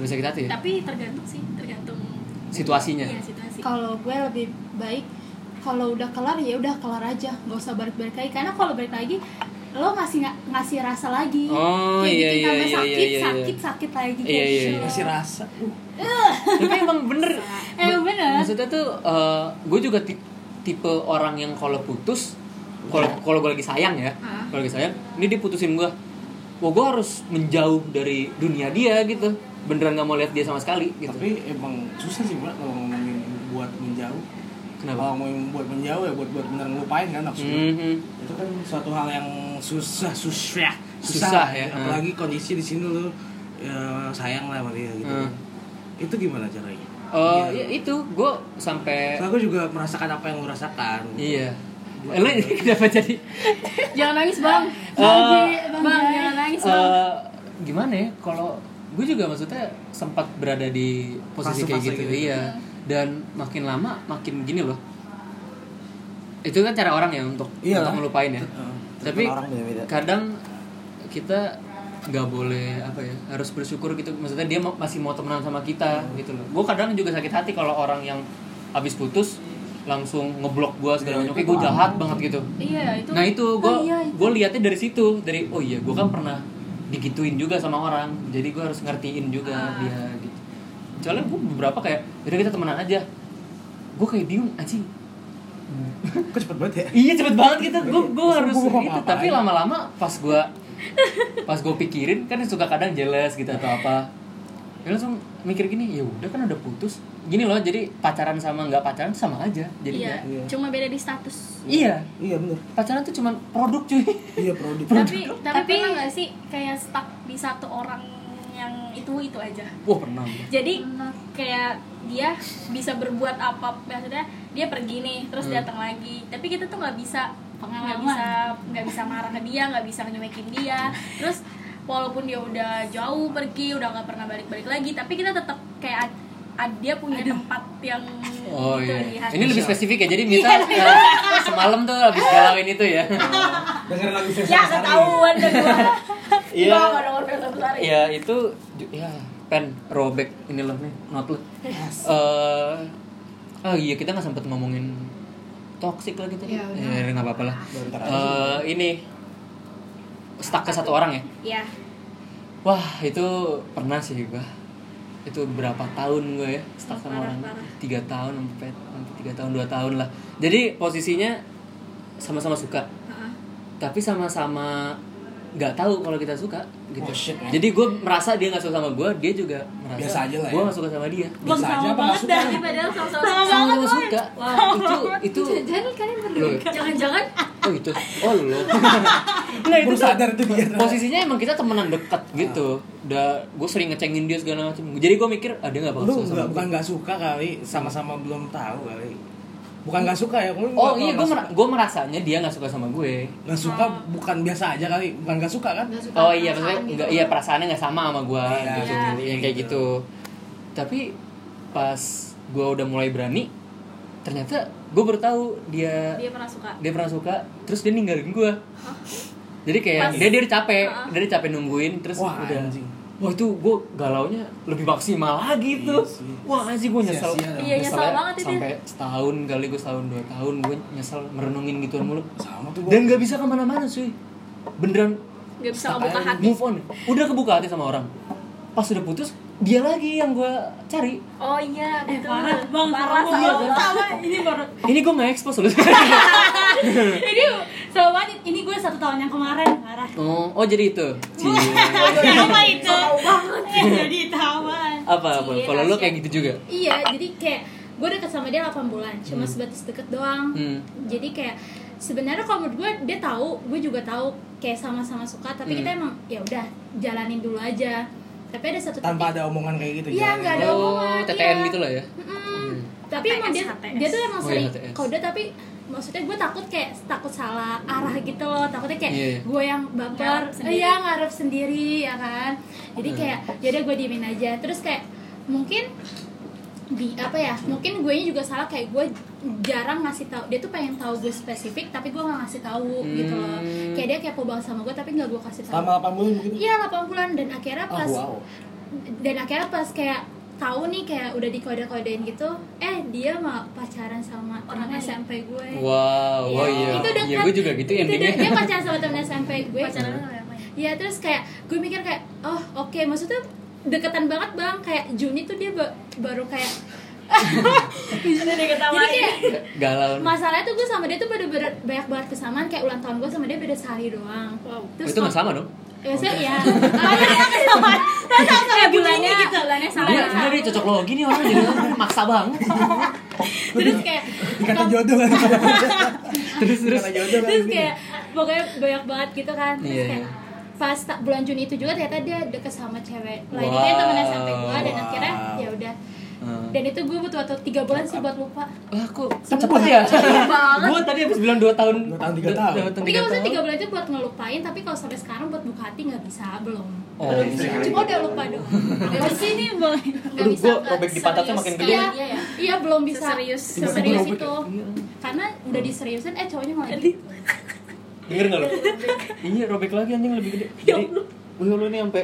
A: lebih sakit hati ya?
C: Tapi tergantung sih, tergantung
A: situasinya
C: Iya, situasi.
D: kalau gue lebih baik kalau udah kelar ya udah kelar aja nggak usah balik-balik lagi karena kalau balik lagi lo ngasih nga- ngasih rasa lagi
A: Oh,
D: Kayak
A: iya,
D: bikin
A: iya,
D: tambah
A: iya,
D: sakit
A: iya, iya.
D: sakit sakit lagi
A: Iya, iya, iya.
B: masih rasa uh,
A: tapi emang bener
D: Eh, bener.
A: maksudnya tuh gue juga ti- tipe orang yang kalau putus kalau kalau gue lagi sayang ya kalau lagi sayang ini dia putusin gue wah gue harus menjauh dari dunia dia gitu beneran nggak mau lihat dia sama sekali gitu
B: tapi emang susah sih buat kalau ngomongin buat menjauh
A: kenapa
B: kalau ngomongin buat menjauh ya buat buat benar ngelupain kan maksudnya
A: Mhm.
B: itu kan suatu hal yang susah susah
A: Susah ya,
B: apalagi kondisi di sini lu ya, sayang lah sama dia gitu
A: Hmm.
B: itu gimana caranya
A: Eh,
B: Iya.
A: ya itu gue sampai
B: Soalnya aku juga merasakan apa yang lu rasakan
A: Eh. iya Eh, lu kenapa jadi
D: jangan nangis bang
A: Eh,
D: bang, jangan nangis bang
A: Eh, gimana ya kalau gue juga maksudnya sempat berada di posisi kayak
B: Fase-fase
A: gitu,
B: gitu.
A: iya dan makin lama makin gini loh itu kan cara orang ya untuk
B: Iya.
A: untuk ngelupain ya
B: Heeh.
A: tapi
B: Treatment orang beda-beda.
A: kadang kita nggak boleh apa ya harus bersyukur gitu maksudnya dia ma- masih mau temenan sama kita
B: Hmm.
A: gitu loh gue kadang juga sakit hati kalau orang yang habis putus langsung ngeblok gue
B: Iya,
A: segala macam gue jahat banget gitu
D: Iya, itu.
A: nah itu gue
D: Oh, iya, itu.
A: gue liatnya dari situ dari oh iya gue kan pernah digituin juga sama orang jadi gue harus ngertiin juga dia gitu soalnya gue beberapa kayak udah kita temenan aja gue kayak bingung anjing
B: Kok cepet banget ya?
A: iya cepet banget gitu gue gue harus
B: Gua mau
A: gitu
B: ngapain?
A: tapi lama-lama pas gue pas gue pikirin kan suka kadang jelas gitu atau apa ya langsung mikir gini ya udah kan udah putus gini loh jadi pacaran sama nggak pacaran sama aja jadi
C: iya
A: kayak-
B: Iya.
C: cuma beda di status
A: iya
B: Iya bener.
A: pacaran tuh cuman produk cuy
B: Iya produk.
C: tapi tapi,
D: Tapi-
C: pernah nggak sih kayak stuck di satu orang yang itu itu aja
A: wah pernah gua.
C: jadi kayak dia bisa berbuat apa maksudnya dia pergi nih terus
A: Hmm.
C: datang lagi tapi kita tuh nggak bisa nggak
D: Pengalaman.
C: bisa nggak bisa marah ke dia nggak bisa nyemekin dia terus walaupun dia udah jauh pergi udah nggak pernah balik-balik lagi tapi kita tetap kayak ad- ad- dia punya tempat yang
A: Oh
C: gitu di
A: iya.
C: hati. Iya,
A: Ini lebih spesifik ya. Jadi Mita eh, semalam tuh habis galauin itu ya.
B: Dengerin lagu Fesa
C: ya ketahuan deh gue
A: Iya.
C: Gua nggak denger Fesa Besari.
A: ya itu ju- ya pen robek ini loh nih not loh. Eh, oh iya kita nggak sempet ngomongin toxic lagi tadi.
C: Iya,
D: Ya, udah.
A: Eh, nggak apa-apa lah.
B: Baru ntar aja.
A: Eh, ini stuck ke satu orang ya.
C: Iya.
A: Wah itu pernah sih gua itu berapa tahun gue ya stuck sama orang tiga tahun sampai sampai tiga tahun dua tahun lah jadi posisinya sama-sama suka
C: Heeh.
A: tapi sama-sama nggak tahu kalau kita suka gitu
B: Oh, shit, man.
A: jadi gue merasa dia nggak suka sama gue dia juga merasa
B: Biasa aja lah ya.
A: gue nggak suka sama dia
C: Belum
B: Bisa
C: sama
B: aja apa
C: banget
B: nggak suka?
C: dah ini Eh, padahal sama-sama
A: sama suka wah itu itu
D: Jadi kalian
A: eh, Loh,
D: berdua.
C: jangan-jangan
A: oh itu oh lo nah itu tuh
B: Baru sadar itu dia.
A: posisinya emang kita temenan dekat gitu udah gue sering ngecengin dia segala macam jadi gue mikir ah dia nggak bakal
B: Lu
A: suka sama
B: nggak bukan
A: gue
B: nggak suka kali, sama-sama belum tahu kali. Bukan nggak suka ya? Lu
A: oh
B: nggak-
A: iya
B: nggak
A: gue
B: suka.
A: gue merasanya dia nggak suka sama gue
B: nggak suka bukan biasa aja kali, bukan nggak suka kan?
D: Nggak suka
A: Oh iya,
D: perasaan
A: maksudnya
D: gitu.
A: nggak- iya perasaannya nggak sama sama gue
B: Iya,
A: gitu,
C: iya.
A: gitu, yang kayak gitu. Tapi pas gue udah mulai berani, ternyata gue baru tahu dia
C: dia pernah suka
A: dia pernah suka, terus dia ninggalin gue. Jadi kayak
C: Pas-
A: dia dia udah capek,
C: Heeh.
A: dia udah capek nungguin, terus
B: Wah,
A: udah.
B: anjing.
A: Wah itu gue galau nya lebih maksimal lagi tuh.
B: Iya sih.
A: Wah anjing gue nyesel.
B: Sia-sia dong.
C: Iya, nyesel
A: Nyeselnya
C: banget itu.
A: Sampai setahun kali gue setahun dua tahun gue nyesel merenungin gituan mulu.
B: Sama tuh gua.
A: Dan nggak bisa kemana-mana cuy. Beneran
C: nggak bisa ngebuka hati
A: move on udah kebuka hati sama orang pas udah putus dia lagi yang gue cari
C: oh iya
D: Eh,
C: gitu
D: parah bang,
C: parah
D: sama,
C: sama
D: sama, sama. ini baru
A: ini gue nggak expose lu
D: ini sama banget. Ini gue satu tahun yang kemarin parah.
A: oh, oh jadi itu Cie.
D: Apa itu? Eh, Jadi tawan.
A: apa apa kalau lu kayak gitu juga
D: Iya, jadi kayak gue deket sama dia 8 bulan, cuma sebatas deket doang.
A: Hmm.
D: Jadi kayak sebenarnya kalau menurut gue dia tahu, gue juga tahu kayak sama-sama suka, tapi
A: Hmm.
D: kita emang ya udah jalanin dulu aja. Tapi ada satu
B: Tanpa
D: titik-
B: ada omongan kayak gitu.
D: Iya,
B: jangan.
D: nggak ada
A: oh
D: omongan,
A: TTN
D: iya.
A: gitu lah ya
D: Mm-mm. tapi emang dia
C: HTS.
D: dia tuh emang
A: Oh,
D: sering
A: iya, HTS.
D: kode tapi maksudnya gue takut kayak takut salah arah gitu loh takutnya kayak
A: Iya.
D: gue yang baper
C: Ngarep sendiri.
D: iya ngarep sendiri ya kan
A: Iya.
D: jadi kayak yaudah gue diemin aja terus kayak mungkin di apa ya mungkin gue juga salah kayak gue jarang ngasih tahu dia tuh pengen tahu gue spesifik tapi gue nggak ngasih tahu gitu loh
A: Hmm.
D: kayak dia kepo banget sama gue tapi nggak gue kasih tahu
B: Selama 8 bulan mungkin.
D: Iya 8 bulan dan akhirnya
B: gitu. Ah,
D: pas
B: wow.
D: dan akhirnya pas kayak tahu nih kayak udah dikode-kodein gitu eh dia mau pacaran sama
C: Orang
D: orang
C: lain.
D: SMP gue
A: wow
D: Iya,
A: oh iya
D: itu dekat
A: iya gue juga gitu
D: itu
A: endingnya
D: de- dia pacaran sama temen SMP gue
C: pacaran sama yang lain.
D: ya terus kayak gue mikir kayak oh oke maksudnya deketan banget bang kayak Juni tuh dia ba- baru kayak
C: jadi
D: jadi
C: ketawain
D: kayak
A: galau
D: masalahnya tuh gue sama dia tuh bener-bener banyak banget kesamaan kayak ulang tahun gue sama dia beda sehari doang
C: Wow.
A: Oh, itu nggak sama dong
D: ya saya ya kesamaan
C: Eh,
D: sama bulannya
C: gitu.
D: bulannya sama
A: Iya, sebenarnya dia cocok logi nih orang jadi orang maksa banget
D: terus kayak
B: Dikata jodoh kan.
A: terus terus
B: Dikata jodoh kan.
D: terus kayak pokoknya banyak banget gitu kan terus
A: Iya,
D: kayak
A: iya.
D: pas ta- bulan Juni itu juga ternyata dia deket sama cewek lainnya temennya sampai gua dan
B: Wow.
D: akhirnya ya udah
A: Hmm.
D: dan itu gue butuh waktu tiga bulan sih buat lupa
A: Wah, kok cepet ya?
C: banget.
A: gue tadi habis bilang 2 tahun.
B: Dua tahun, tiga
A: dua-
B: tahun.
A: dua
D: tapi kan maksudnya
A: tahun.
D: Iya, tiga bulan itu buat ngelupain tapi kalau sampai sekarang buat buka hati nggak bisa belum
A: Oh,
D: belum
A: iya.
D: bisa cuma udah lupa doang
C: Dari sini boleh.
D: nggak
A: Aduh,
D: bisa
A: gue
D: ke-
A: robek di pantatnya
C: serius
A: makin gede.
D: Iya,
C: Iya, ya.
D: iya belum bisa
C: Seserius-
D: seserius
B: seserius
D: itu. "Iya." Karena udah diseriusin eh cowoknya malah gitu.
A: Denger nggak lo? Iya, robek lagi anjing lebih gede.
D: Ya
A: Jadi, wih lu nih sampai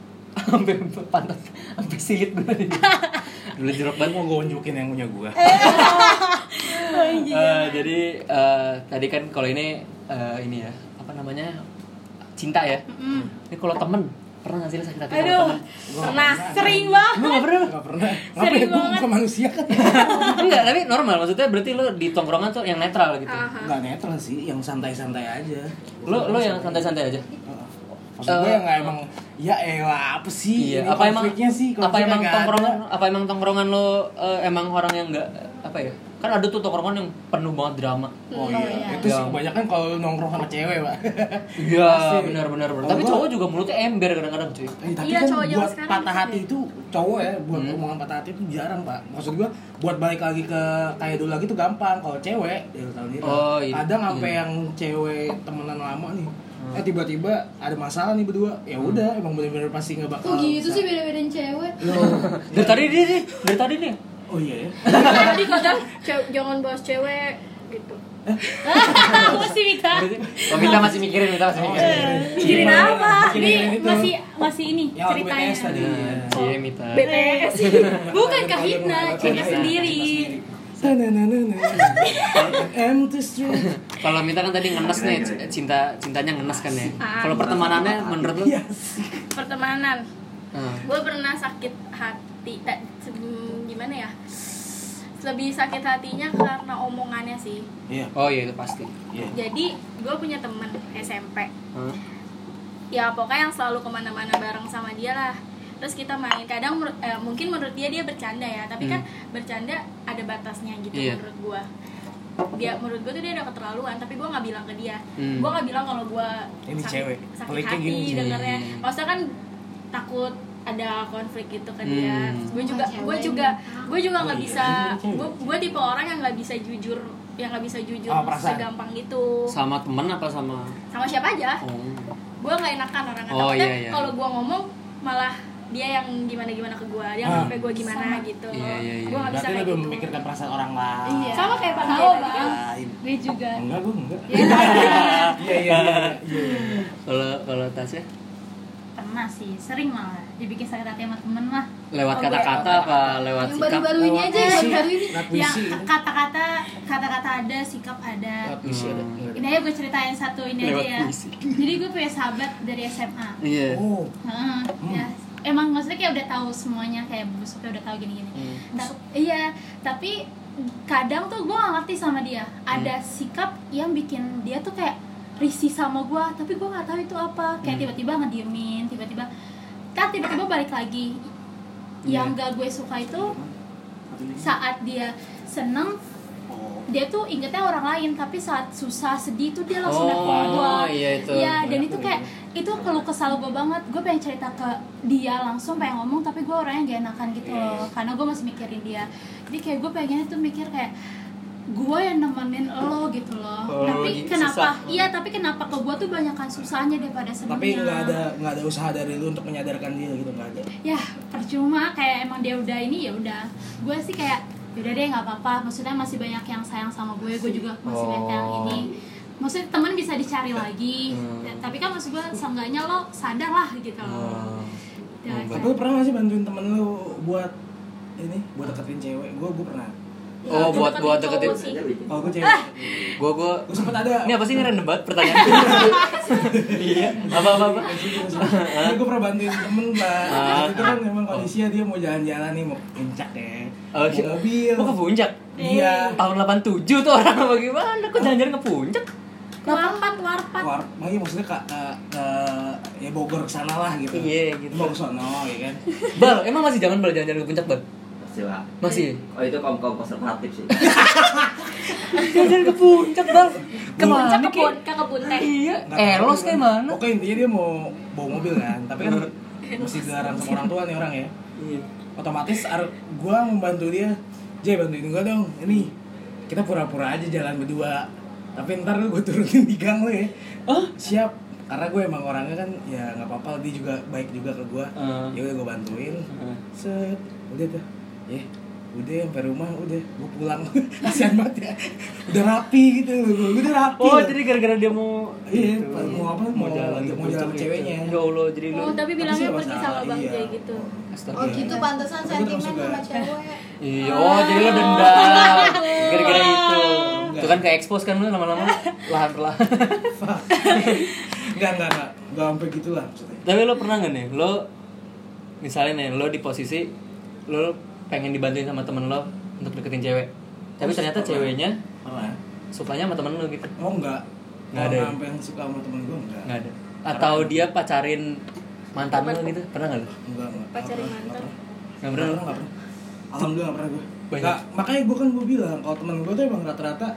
A: sampai pantat, sampai silit gue nih. Dulu jerok banget.
B: mau gue unjukin Oh, yang punya gue
A: Eh, jadi eh, tadi kan kalau ini eh, ini ya apa namanya cinta ya. Ini kalau temen pernah nggak sih lo sakit hati sama
C: Aduh,
A: temen?
C: pernah sering banget.
A: Lu nggak pernah?
B: Gak pernah
C: Sering
B: Ngapain gue
C: banget.
B: bukan manusia kan
A: Enggak, tapi normal maksudnya berarti lo di tongkrongan tuh yang netral gitu.
D: Ah.
B: Gak netral sih Yang santai-santai aja
A: Lo lo yang santai-santai aja.
B: Heeh. Maksud gue
A: Eh,
B: yang nggak emang Ya elah apa sih
A: Iya,
B: Ini
A: apa emang
B: konfliknya sih
A: apa
B: Konfliknya
A: emang
B: nggak ada.
A: tongkrongan apa emang tongkrongan lo eh, emang orang yang enggak apa ya? Kan ada tuh tongkrongan yang penuh banget drama.
B: Oh
D: Oh,
B: iya,
D: iya.
B: itu sih
A: Yang-
B: kebanyakan kalau lu nongkrong sama cewek, Pak.
A: Iya,
B: Pasti.
A: benar-benar. benar.
B: Kalau
A: Tapi
B: gua-
A: cowok juga mulutnya ember kadang-kadang cuy.
B: Eh, tapi
C: Iya,
B: kan
C: cowok zaman
B: buat
C: sekarang
B: patah
C: gitu
B: hati itu cowok ya, buat omongan patah hati itu jarang, Pak. Maksud gua buat balik lagi ke kayak dulu lagi tuh gampang. Kalau cewek, ya lu tahu sendiri.
A: Oh, iya.
B: Kadang sampai
A: Iya.
B: yang cewek temenan lama nih. Eh tiba-tiba ada masalah nih berdua. Ya udah, emang bener-bener pasti nggak bakal.
D: Kok gitu
B: bisa.
D: sih beda-bedain cewek?
B: Loh.
A: Dari tadi dia nih, dari tadi nih.
B: Oh iya ya.
C: Tadi kadang "Cew- jangan bahas cewek gitu.
D: Aku sih Mita.
A: Berarti- Oh, kita masih mikirin, kita masih
B: iya,
A: Oh, iya. mikirin.
C: Mikirin apa?
D: Ini masih masih ini
B: Yang lagu Ya, BTS
D: ceritanya.
B: tadi.
A: Iya, Iya, Mita.
C: BTS.
D: Bukan Kak Hidna, cewek sendiri.
B: Ta-na-na-na-na. I'm too strong.
A: Kalau Mita kan tadi ngenes nih, c- cinta cintanya ngenes kan ya. Kalau pertemanannya menurut lo? iya.
C: Pertemanan.
A: Nah,
C: Gue pernah sakit hati. Ta- hmm, gimana ya? Lebih sakit hatinya karena omongannya sih.
B: Iya.
A: Oh iya itu pasti.
B: Iya.
C: Jadi gue punya temen SMP.
A: Hah?
C: ya pokoknya yang selalu kemana-mana bareng sama dia lah terus kita main kadang menurut- eh, mungkin menurut dia dia bercanda ya tapi kan bercanda ada batasnya gitu
A: Hmm. Iya.
C: menurut gua dia menurut gua tuh dia udah keterlaluan tapi gua nggak bilang ke dia
A: Hmm.
C: gua nggak bilang kalau gua
B: Ini
C: sakit,
B: cewek.
C: sakit
B: Peliknya
C: hati
B: gini nih.
C: dengernya
A: Iya.
C: maksudnya kan takut ada konflik gitu kan dia
A: Hmm.
C: gue juga gue
D: Bukan cewek
C: juga
D: ini.
C: gue juga
B: Oh,
C: nggak
B: iya.
C: bisa
B: Cewek.
C: gue gue tipe orang yang nggak bisa jujur yang nggak bisa jujur
B: Oh, perasaan.
C: segampang gitu
A: Sama temen apa sama?
C: sama siapa aja
A: Oh.
C: gue nggak enakan orang kan.
A: Oh,
C: takutnya
A: iya, iya.
C: kalau gue ngomong malah dia yang gimana gimana ke gue dia
B: Ah.
C: sampai gue gimana gitu
A: Iya, iya, iya.
C: gue nggak bisa
B: Berarti
C: kayak
B: lebih
C: gitu
B: memikirkan perasaan orang lah.
D: Iya.
C: sama kayak bang
D: Tahu,
C: Jaya tadi kan.
D: Bang.
B: Lain.
D: Gue juga.
B: Enggak, gue enggak. Iya, iya, iya. iya.
A: Kalau kalau ya? tasnya
E: pernah sih sering malah dibikin sakit hati sama temen mah
A: lewat
C: Oh,
A: kata-kata apa lewat
D: Yang
A: sikap?
D: baru-baru ini
B: Lewat
D: aja, yang
B: puisi.
D: baru ini. Iya.
B: Lewat
E: yang
B: puisi. ya.
E: kata-kata kata-kata ada sikap ada
B: Lewat puisi ada.
E: ini aja gue ceritain satu ini
A: Lewat
E: aja ya
A: puisi.
E: jadi gue punya sahabat dari SMA
A: Iya.
B: Oh,
E: Heeh,
A: Hmm.
E: ya. emang maksudnya kayak udah tahu semuanya kayak busuknya udah tahu gini-gini
A: Hmm.
E: Ta- iya tapi kadang tuh gue gak ngerti sama dia ada
A: Hmm.
E: sikap yang bikin dia tuh kayak risih sama gue tapi gue nggak tahu itu apa
A: Hmm.
E: kayak tiba-tiba ngediemin tiba-tiba kan tiba-tiba balik lagi
A: Iya.
E: yang gak gue suka itu saat dia seneng
B: oh.
E: dia tuh ingetnya orang lain tapi saat susah sedih tuh dia langsung nelfon gue
A: Oh, iya itu.
E: Iya, dan itu kayak itu keluh kesal gue banget. Gue pengen cerita ke dia langsung, pengen ngomong tapi gue orangnya gak enakan gitu loh. Karena gue masih mikirin dia. Jadi kayak gue pengennya tuh mikir kayak gue yang nemenin lo gitu loh.
A: Oh,
E: tapi
A: jadi susah.
E: kenapa? Iya, tapi kenapa ke gue tuh banyakkan susahnya daripada
D: Iya.
E: senangnya.
B: tapi nggak ada nggak ada usaha dari lu untuk menyadarkan dia gitu nggak ada.
E: Ya, percuma kayak emang dia udah ini ya udah. Gue sih kayak yaudah deh nggak apa-apa. Maksudnya masih banyak yang sayang sama gue. Gue juga masih banyak yang
A: Oh. Ya.
E: ini. Maksudnya teman bisa dicari lagi,
A: Hmm.
E: tapi kan maksud gue seenggaknya lo sadar lah gitu loh.
A: Oh.
E: Ya,
A: Hmm,
B: Tapi
E: kayak-
B: lu pernah nggak sih bantuin temen lu buat ini buat deketin cewek? Gue gue pernah.
E: ya,
A: Oh, buat buat
E: gitu,
C: Cowok
A: deketin.
C: sih.
B: Kalau gue cewek,
D: Ah.
A: Gua gua
B: gue sempet ada.
A: ini apa sih ini random banget pertanyaan? Iya. Apa apa apa?
B: Ini gue Iya, pernah bantuin temen mbak.
A: Ah.
B: Waktu Itu kan memang kondisinya dia mau jalan-jalan nih mau ke puncak ya.
A: Oh,
B: Mau ke mobil.
A: Gua ke puncak.
B: Iya.
A: Tahun 87 tuh orang bagaimana kok jalan-jalan ke puncak?
C: warpat warpat
B: Keluar, makanya maksudnya ke, ke, ke ya Bogor kesana lah gitu.
A: Iya, gitu.
B: Bogor sono, ya kan.
A: Bal, emang masih jangan bal jalan-jalan ke puncak, Bal?
F: Pasti lah.
A: Masih.
F: Oh itu kaum kaum konservatif sih.
A: Jalan-jalan ke puncak, Bal.
C: ke
E: Kan
C: puncak ke
A: kek?
C: pun ke kebun teh
A: Iya,
B: Nggak tahu
A: elos
B: kan.
A: kayak mana?
B: Oke intinya dia mau bawa mobil kan, tapi kan mesti dilarang sama orang tua nih orang ya.
A: Iya.
B: otomatis ar- gua membantu dia Jay bantuin gua dong ini kita pura-pura aja jalan berdua tapi ntar lu gue turunin di gang lu ya
A: Oh.
B: siap karena gue emang orangnya kan ya nggak apa-apa dia juga baik juga ke gua
A: Eh.
B: ya udah gue bantuin
A: Eh.
B: set udah tuh ya udah sampai rumah udah gue pulang kasihan banget ya udah rapi gitu gue udah rapi
A: Oh, jadi gara-gara dia mau
B: Iya, mau apa? Mau-
A: ke
B: mau jalan
A: puncak
B: sama
A: gitu.
B: ceweknya.
A: Ya Allah, jadi lu.
C: Oh, tapi
B: Tapi
C: bilangnya
B: sih
C: pergi
B: masalah,
C: sama Bang
B: iya.
C: Jay gitu.
A: Astaga.
G: Oh gitu, pantesan
B: Tapi
G: sentimen
B: terus juga-
G: sama cewek
A: Iya, oh, jadi lo dendam gara-gara itu. Itu kan ke expose kan lu lama-lama lahan perlahan.
B: Enggak, enggak, enggak. Enggak sampai gitu lah maksudnya.
A: Tapi lo pernah gak nih, lo misalnya nih, lo di posisi lo pengen dibantuin sama temen lo untuk deketin cewek. Tapi ternyata ceweknya
B: Apa?
A: sukanya sama temen lo gitu.
B: Oh enggak.
A: Enggak
B: Enggak
A: ada
B: ada.
A: ya?
B: Sampai yang suka sama temen gue enggak.
A: Nggak ada. Atau dia pacarin mantan lo gitu. Pernah gak lo?
B: Enggak, enggak.
C: Pacarin
B: Enggak
C: mantan.
B: pernah.
A: Gak pernah lo?
B: Enggak pernah. Alhamdulillah enggak pernah gue.
A: Banyak.
B: Enggak, makanya gue kan gue bilang kalau temen gue tuh emang rata-rata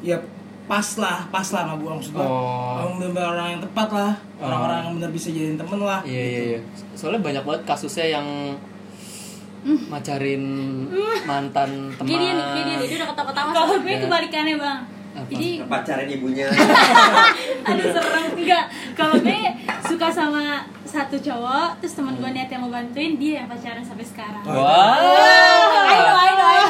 B: ya pas lah, pas lah sama gue maksud gue.
A: Oh.
B: Orang bener orang yang tepat lah,
A: Oh.
B: orang-orang yang bener bisa jadiin temen lah.
A: Iya iya
B: gitu.
A: iya. Soalnya banyak banget kasusnya yang macarin mantan teman.
C: Kayak dia nih, kayak dia nih, dia udah ketawa-ketawa.
E: Kalau gue kebalikannya bang.
A: Apa?
E: Jadi
F: pacaran ibunya
E: aduh serem enggak. Kalau gue suka sama satu cowok, terus teman gue niat yang mau bantuin dia yang pacaran sampai sekarang.
A: Wah.
E: Ayo ayo ayo.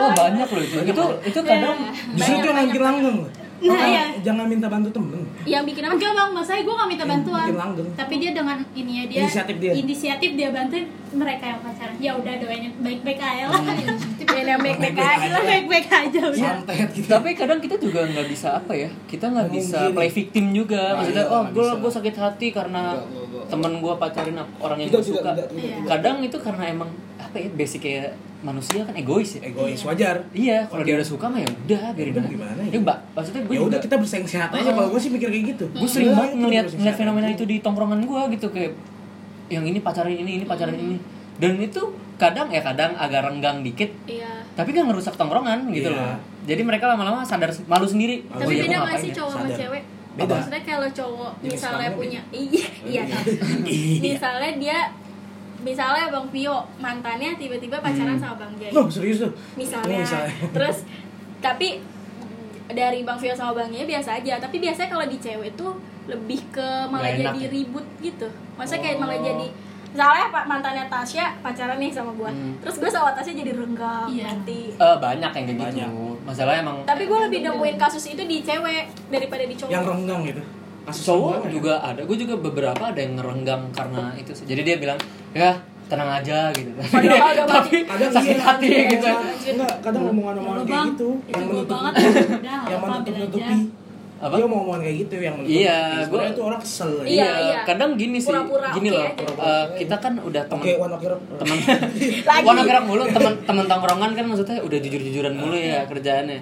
A: Oh banyak loh itu. Itu itu kadang
B: Justru itu yang bikin langgeng. loh.
E: Nah,
B: Makanya
E: iya.
B: Jangan minta bantu temen.
E: Yang bikin apa? Enggak bang, masalahnya gue gak minta
B: Yang
E: bantuan.
B: bikin langgeng.
E: Tapi dia dengan ini ya dia.
B: Inisiatif dia.
E: Inisiatif dia bantuin mereka yang pacaran. Ya udah doain yang baik-baik aja lah.
C: Beda baik-baik aja.
E: Kita baik-baik aja
A: Iya.
E: udah.
B: Santet gitu.
A: tapi kadang kita juga nggak bisa apa ya kita nggak
B: Nggak
A: bisa
B: mungkin.
A: play victim juga
B: Nah,
A: maksudnya
B: iya,
A: oh
B: nggak
A: gue
B: bisa.
A: gue sakit hati karena
B: Nggak, nggak, nggak.
A: temen gue pacarin ap- orang yang
B: Tidak,
A: gue
B: tidak,
A: suka
B: tidak, tidak, tidak.
A: kadang itu karena emang apa ya basic kayak manusia kan egois ya
B: egois wajar
A: iya kalau dia udah suka mah ya udah biarin
B: Udah,
A: aja.
B: gimana ya?
A: ya mbak maksudnya gue
B: ya udah kita bersaing sehat aja
A: Oh.
B: kalau gue sih mikir kayak gitu
A: gue sering banget ngeliat
B: Udah, kita bersaing
A: ngeliat
B: sehat
A: fenomena
B: aja.
A: itu di tongkrongan gue gitu kayak yang ini pacarin ini ini pacarin ini dan itu kadang ya kadang agak renggang dikit
C: Iya.
A: tapi kan ngerusak tongkrongan gitu
B: Iya.
A: loh jadi mereka lama-lama sadar malu sendiri
B: Malu.
A: Oh,
C: Tapi
A: iya,
C: beda
A: gua
C: nggak
A: ngapain
C: sih
A: ya?
C: cowok sama
B: Sadar.
C: cewek? Oh,
B: Beda.
C: Maksudnya kalau cowok
B: Jenis
C: misalnya
B: kelaminnya
C: punya iya, iya. misalnya dia misalnya Bang Pio mantannya tiba-tiba pacaran sama Bang Jay.
B: Hmm. Loh, serius tuh
C: misalnya,
B: Oh, misalnya.
C: terus tapi dari Bang Vio sama Bang Ye biasa aja tapi biasanya kalau di cewek tuh lebih ke malah
A: Nggak enak
C: jadi
A: ya?
C: ribut gitu maksudnya kayak
A: Oh.
C: malah jadi misalnya pak mantannya Tasya pacaran nih sama gue
A: Hmm.
C: terus gue sama Tasya jadi renggang
E: Iya.
B: Oh.
C: hati
A: Eh, banyak yang kayak
B: Banyak.
A: gitu masalah emang
C: tapi gue lebih nemuin kasus itu di cewek daripada di cowok
B: yang renggang gitu kasus
A: cowok
B: semua, ya.
A: juga ada gue juga beberapa ada yang ngerenggang karena itu sih. jadi dia bilang ya tenang aja gitu
C: Padahal udah
A: tapi
B: kadang
A: sakit
B: iya,
A: hati
B: kadang-
A: gitu
B: enggak kadang omongan-omongan
E: Lu,
B: kayak gitu
E: Iya, Bang, itu
B: yang
E: gua
B: menutup
E: banget. ya, Udah,
B: yang
E: apa,
B: menutup
E: ambil
B: nutupi
A: Apa?
B: dia mau omongan kayak gitu yang menutup
A: Iya,
B: gue
A: gua-
B: itu orang kesel ya.
C: Iya, iya.
A: kadang gini sih
C: Pura-pura
A: gini
C: oke
A: loh
C: aja.
A: eh, kita kan udah teman
B: oke one oke rock
A: teman Wah gerak Iya. mulu teman teman tongkrongan kan maksudnya udah jujur-jujuran mulu ya
B: Iya.
A: kerjaannya.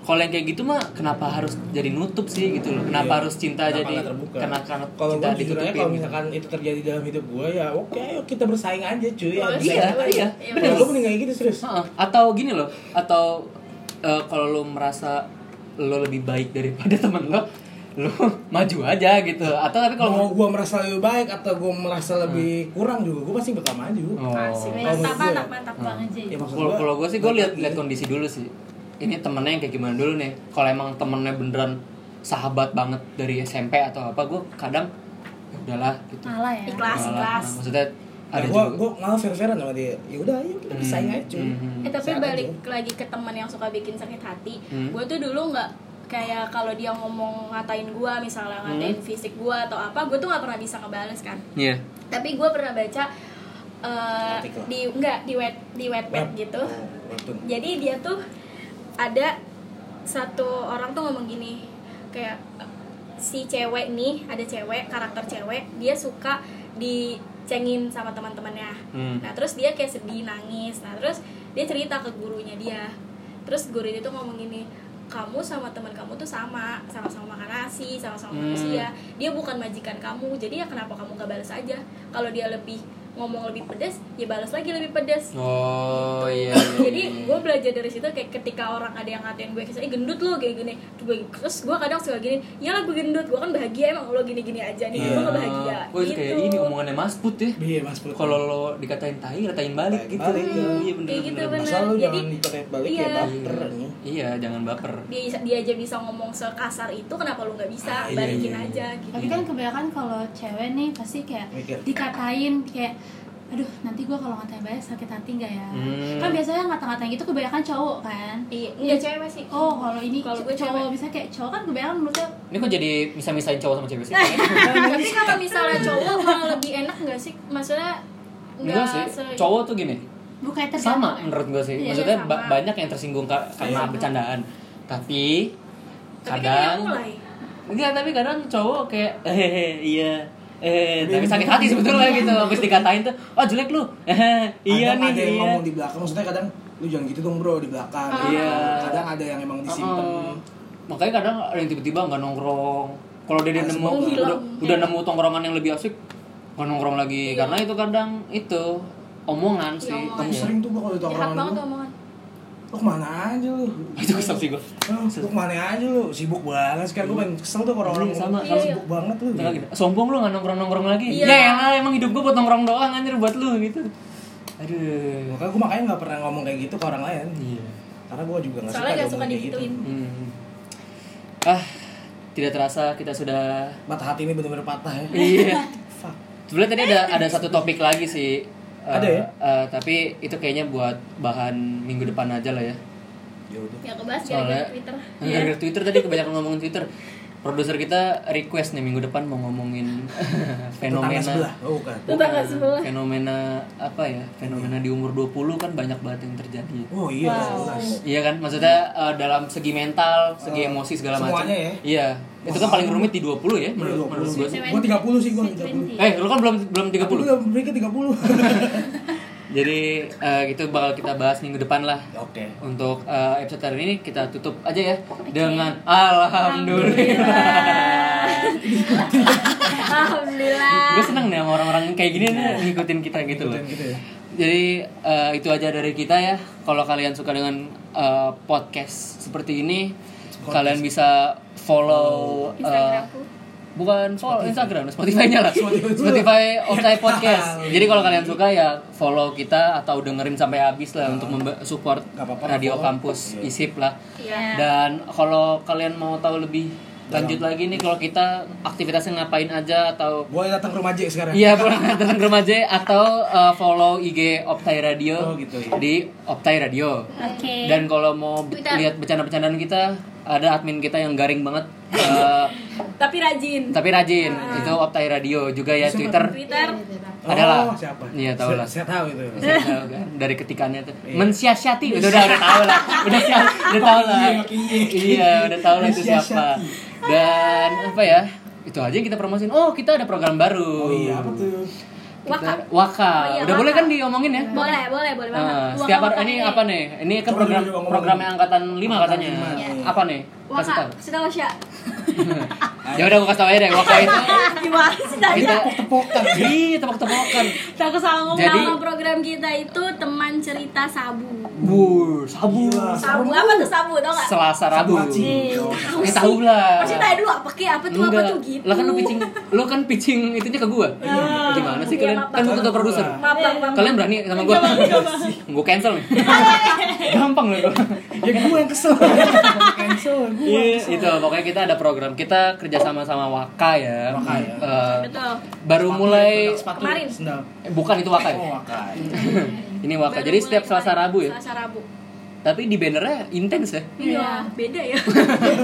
A: Kalau yang kayak gitu mah kenapa harus jadi nutup sih gitu loh. Kenapa
B: Iya.
A: harus cinta
B: Kenapa
A: jadi
B: nggak terbuka?
A: karena karena
B: kalau
A: cinta
B: gue jujur aja
A: ditutupin
B: kalau
A: gitu.
B: misalkan itu terjadi dalam hidup gue ya oke ayo kita bersaing aja cuy
C: Iya,
A: Iya, iya.
C: Iya,
A: Bener.
B: bener gue mending kayak gitu serius
A: Heeh. Atau gini loh, atau eh, kalau lo merasa lo lebih baik daripada teman lo, lo maju aja gitu. Atau tapi
B: mau
A: kalau
B: gue merasa lebih baik atau gue merasa lebih kurang juga gue pasti bakal maju
A: Oh.
C: Asik.
B: Kalau
C: mantap
B: menurut gue.
C: mantap mantap
A: Hmm.
C: banget
E: Aja.
B: ya maksud
A: Kalau
B: gua-
A: kalau gue sih gue lihat lihat kondisi dulu sih. Ini temennya yang kayak gimana dulu nih. Kalau emang temennya beneran sahabat banget dari SMP atau apa, gue kadang "Ya udahlah gitu.
C: Ah,
E: Malah
D: Iya.
E: ya.
C: ikhlas
A: Malah,
C: ikhlas
A: nah, maksudnya
B: Nah,
G: ya
A: ada
B: gua,
A: juga.
B: gua malah fair-fairan sama dia. Ya udah ayo kita bersaing aja cuy.
A: Hmm, hmm,
C: Eh, tapi
B: Sehat
C: balik
B: aja.
C: lagi ke teman yang suka bikin sakit hati
A: Hmm.
C: gue tuh dulu nggak kayak kalau dia ngomong ngatain gue misalnya
A: Hmm.
C: ngatain fisik gue atau apa gue tuh nggak pernah bisa ngebales kan
A: Iya.
C: tapi gue pernah baca eh,
B: Artikel.
C: di enggak di wet di
B: Web.
C: wetpad gitu
B: Oh, webtoon.
C: jadi dia tuh ada satu orang tuh ngomong gini kayak si cewek nih ada cewek karakter cewek dia suka dicengin sama teman-temannya
A: Hmm.
C: nah terus dia kayak sedih nangis nah terus dia cerita ke gurunya dia terus guru itu ngomong gini kamu sama teman kamu tuh sama sama-sama makan nasi sama-sama
A: Hmm.
C: manusia dia bukan majikan kamu jadi ya kenapa kamu gak balas aja kalau dia lebih ngomong lebih pedas ya balas lagi lebih pedas
A: oh iya
C: jadi gue belajar dari situ kayak ketika orang ada yang ngatain gue kayak "Eh, gendut lo kayak gini Gue- terus gue kadang suka gini ya lah gue gendut gue kan bahagia emang lo gini gini
A: iya.
C: aja nih gue gak bahagia Gitu.
A: Wah, itu kayak ini omongannya Mas Put ya.
B: Iya, Mas Put.
A: Kalau lo dikatain tai, ratain balik
G: Ratain
A: gitu.
G: balik, ya.
A: Iya bener,
C: Kayak gitu,
A: bener.
C: bener.
G: Masa lu
C: Jadi-
G: jangan dikatain balik ya
C: Iya.
G: baper ya.
A: Iya, jangan baper.
C: dia dia aja bisa ngomong sekasar itu kenapa lu nggak bisa
A: Ah, iya,
C: balikin aja gitu
D: tapi kan kebanyakan kalau cewek nih pasti kayak
G: Mikir.
D: dikatain kayak aduh nanti gua kalau ngatain banyak sakit hati nggak ya
A: Hmm.
D: kan biasanya ngata-ngatain gitu kebanyakan cowok kan
C: iya nggak cewek sih
D: oh kalau ini
C: Kalau gue
D: gue cowok
C: cewek.
D: misalnya kayak cowok kan kebanyakan menurutnya
A: Ini kok jadi bisa-misain cowok sama cewek sih?
C: Eh, tapi kalau misalnya cowok malah lebih enak nggak sih maksudnya
A: Enggak sih.
C: se-
A: Cowok tuh gini,
D: bukan tergantung
A: sama menurut gue sih.
D: Iya,
A: Maksudnya
C: sama. Iya,
A: ba- banyak yang tersinggung ka- karena bercandaan. Tapi
C: tapi kan dia
A: kadang
C: mulai
A: Enggak, tapi kadang cowok kayak hehehe iya eh tapi sakit hati sebetulnya gitu habis dikatain tuh oh jelek lu eh iya
G: Kadang
A: nih
G: ada yang
A: iya
G: ngomong di belakang maksudnya kadang lu jangan gitu dong bro di belakang
C: Ah.
A: Iya. Ah.
G: kadang ada yang emang disimpan
A: Heeh. makanya kadang ada yang tiba-tiba nggak nongkrong kalau dia
G: Ah,
A: nemu
G: semua
A: udah,
C: hilang.
A: udah nemu tongkrongan yang lebih asik nggak nongkrong lagi
C: Iya.
A: karena itu kadang itu omongan sih
G: tapi
A: Iya.
G: sering tuh gua kalau di
C: jahat
G: tongkrongan
C: banget
G: gua,
C: omongan
G: lu kemana aja lu
A: itu kesel sih gue
G: Ah, lu kemana aja lu sibuk banget sekarang gua pengen kesel tuh kalau orang
A: Iya, sama, Nah,
G: ngomong,
A: sama.
G: sibuk banget lu gitu.
A: gitu. sombong lu nggak nongkrong nongkrong lagi
C: Iya.
A: ya elah, emang hidup gue buat nongkrong doang anjir buat lu gitu aduh
G: makanya gua makanya nggak pernah ngomong kayak gitu ke orang lain
A: iya
G: karena gua juga nggak suka
C: soalnya nggak suka
G: diomongin kayak gitu
C: digituin
A: Hmm. Ah, tidak terasa kita sudah
G: patah hati ini benar-benar patah ya
A: Iya.
G: fuck
A: Sebenarnya tadi ada ada satu topik lagi sih. Eh,
G: Ada ya?
A: eh, tapi itu kayaknya buat bahan minggu depan aja lah ya.
G: ya udah
C: ya kebas
A: Soalnya
C: gara-gara twitter Iya.
A: gara-gara Twitter tadi kebanyakan ngomongin Twitter. Produser kita request nih minggu depan mau ngomongin
G: tetangga
A: fenomena
G: sebelah oh bukan
C: tetangga sebelah
A: fenomena apa ya? Fenomena di umur 20 kan banyak banget yang terjadi.
G: oh iya jelas
A: Iya kan, maksudnya eh, dalam segi mental, segi emosi segala
G: Eh,
A: macam.
G: semuanya ya?
A: Iya. Itu kan paling rumit di 20 ya menurut menurut gue.
G: gue tiga puluh sih gue tiga puluh
A: Eh, lu kan belum belum 30.
G: mereka tiga puluh
A: Jadi eh, itu bakal kita bahas minggu depan lah.
G: oke
A: Untuk eh, episode hari ini kita tutup aja ya dengan alhamdulillah.
C: alhamdulillah
A: Gue seneng nih sama orang-orang kayak gini nih ngikutin kita gitu loh.
G: gitu ya
A: Jadi eh, itu aja dari kita ya. Kalau kalian suka dengan eh, podcast seperti ini, kalian bisa
G: Oh.
A: follow eh, bukan follow Instagram, Spotify-nya lah. Spotify Offside Podcast.
G: Iya.
A: Jadi kalau kalian suka ya follow kita atau dengerin sampai habis lah untuk memba- support
G: Iya. Nggak apa-apa,
A: Radio
G: follow.
A: Kampus ISIP lah.
C: Iya.
A: Dan kalau kalian mau tahu lebih lanjut lagi nih kalau kita aktivitasnya ngapain aja atau
G: gue datang ke rumah J sekarang
A: Iya, pulang datang ke rumah J atau uh, follow IG Optai
G: Oh,
A: Radio
G: gitu, iya.
A: di Optai Radio.
C: Eh,
A: Dan kalau mau b- lihat bercanda-bercandaan kita, ada admin kita yang garing banget. uh,
C: tapi rajin
A: tapi rajin,
C: Ah.
A: itu Optai Radio juga ya Twitter.
C: twitter
G: oh,
A: Adalah.
G: siapa
A: Iya, tahu lah.
G: saya, saya tahu itu
A: Saya tahu kan, dari ketikannya tuh
G: Iya.
A: mensiasati udah udah udah tahu lah udah siap udah tahu lah iya udah tahu lah itu siapa dan apa ya itu aja yang kita promosiin oh kita ada program baru
G: oh iya apa tuh
A: Kita-
C: Waka.
A: Waka.
C: Oh iya,
A: Udah
C: Waka.
A: boleh kan diomongin ya?
C: boleh boleh boleh banget
A: Nah,
C: Waka-
A: setiap hari
C: Waka
A: ini
C: ini.
A: apa nih? Ini kan
G: Coba
A: program
G: dulu, coba ngomongin.
A: programnya angkatan 5 katanya.
G: lima,
A: Iya.
G: iya.
A: Apa nih? Kasih
C: Waka,
A: tahu.
C: kasih tahu Sya.
A: Ya udah gua kasih tahu aja deh. Waka itu
C: Gimana sih tadi?
A: kita tepok-tepokan. Ih, tepok-tepokan.
C: Takut salah ngomong.
A: Jadi-
C: Nama program kita itu Teman Cerita Sabu.
A: Bur, sabu.
G: Iya.
C: Sabu apa tuh sabu tau gak?
A: Selasa Rabu.
G: Haji.
A: Eh tahu lah.
C: Masih tanya dulu apa ke apa tuh apa tuh gitu. Ah,
A: Lah kan lu pitching, lu kan pitching itunya ke gua. Gimana sih
C: Iya,
A: kalian?
C: maaf,
A: Kan gua
G: maaf.
A: ketua produser.
G: Iya.
C: Maaf, maaf, maaf.
A: Kalian berani eh, sama gua?
C: iya,
A: Gua cancel nih. Gampang loh gua.
G: ya gue yang kesel cancel gue
A: Iya, itu pokoknya kita ada program kita kerjasama sama Waka ya.
G: Waka ya.
A: Eh,
C: Betul.
A: baru mulai
G: sepatu
C: Kemarin.
G: sendal
A: eh, bukan itu Waka. ya?
G: oh wakai
A: Ini Waka.
C: Baru
A: Jadi
C: mulai
A: setiap Selasa
C: kemarin.
A: Rabu ya.
C: Selasa Rabu.
A: Tapi di bannernya intens ya.
C: Iya, beda ya.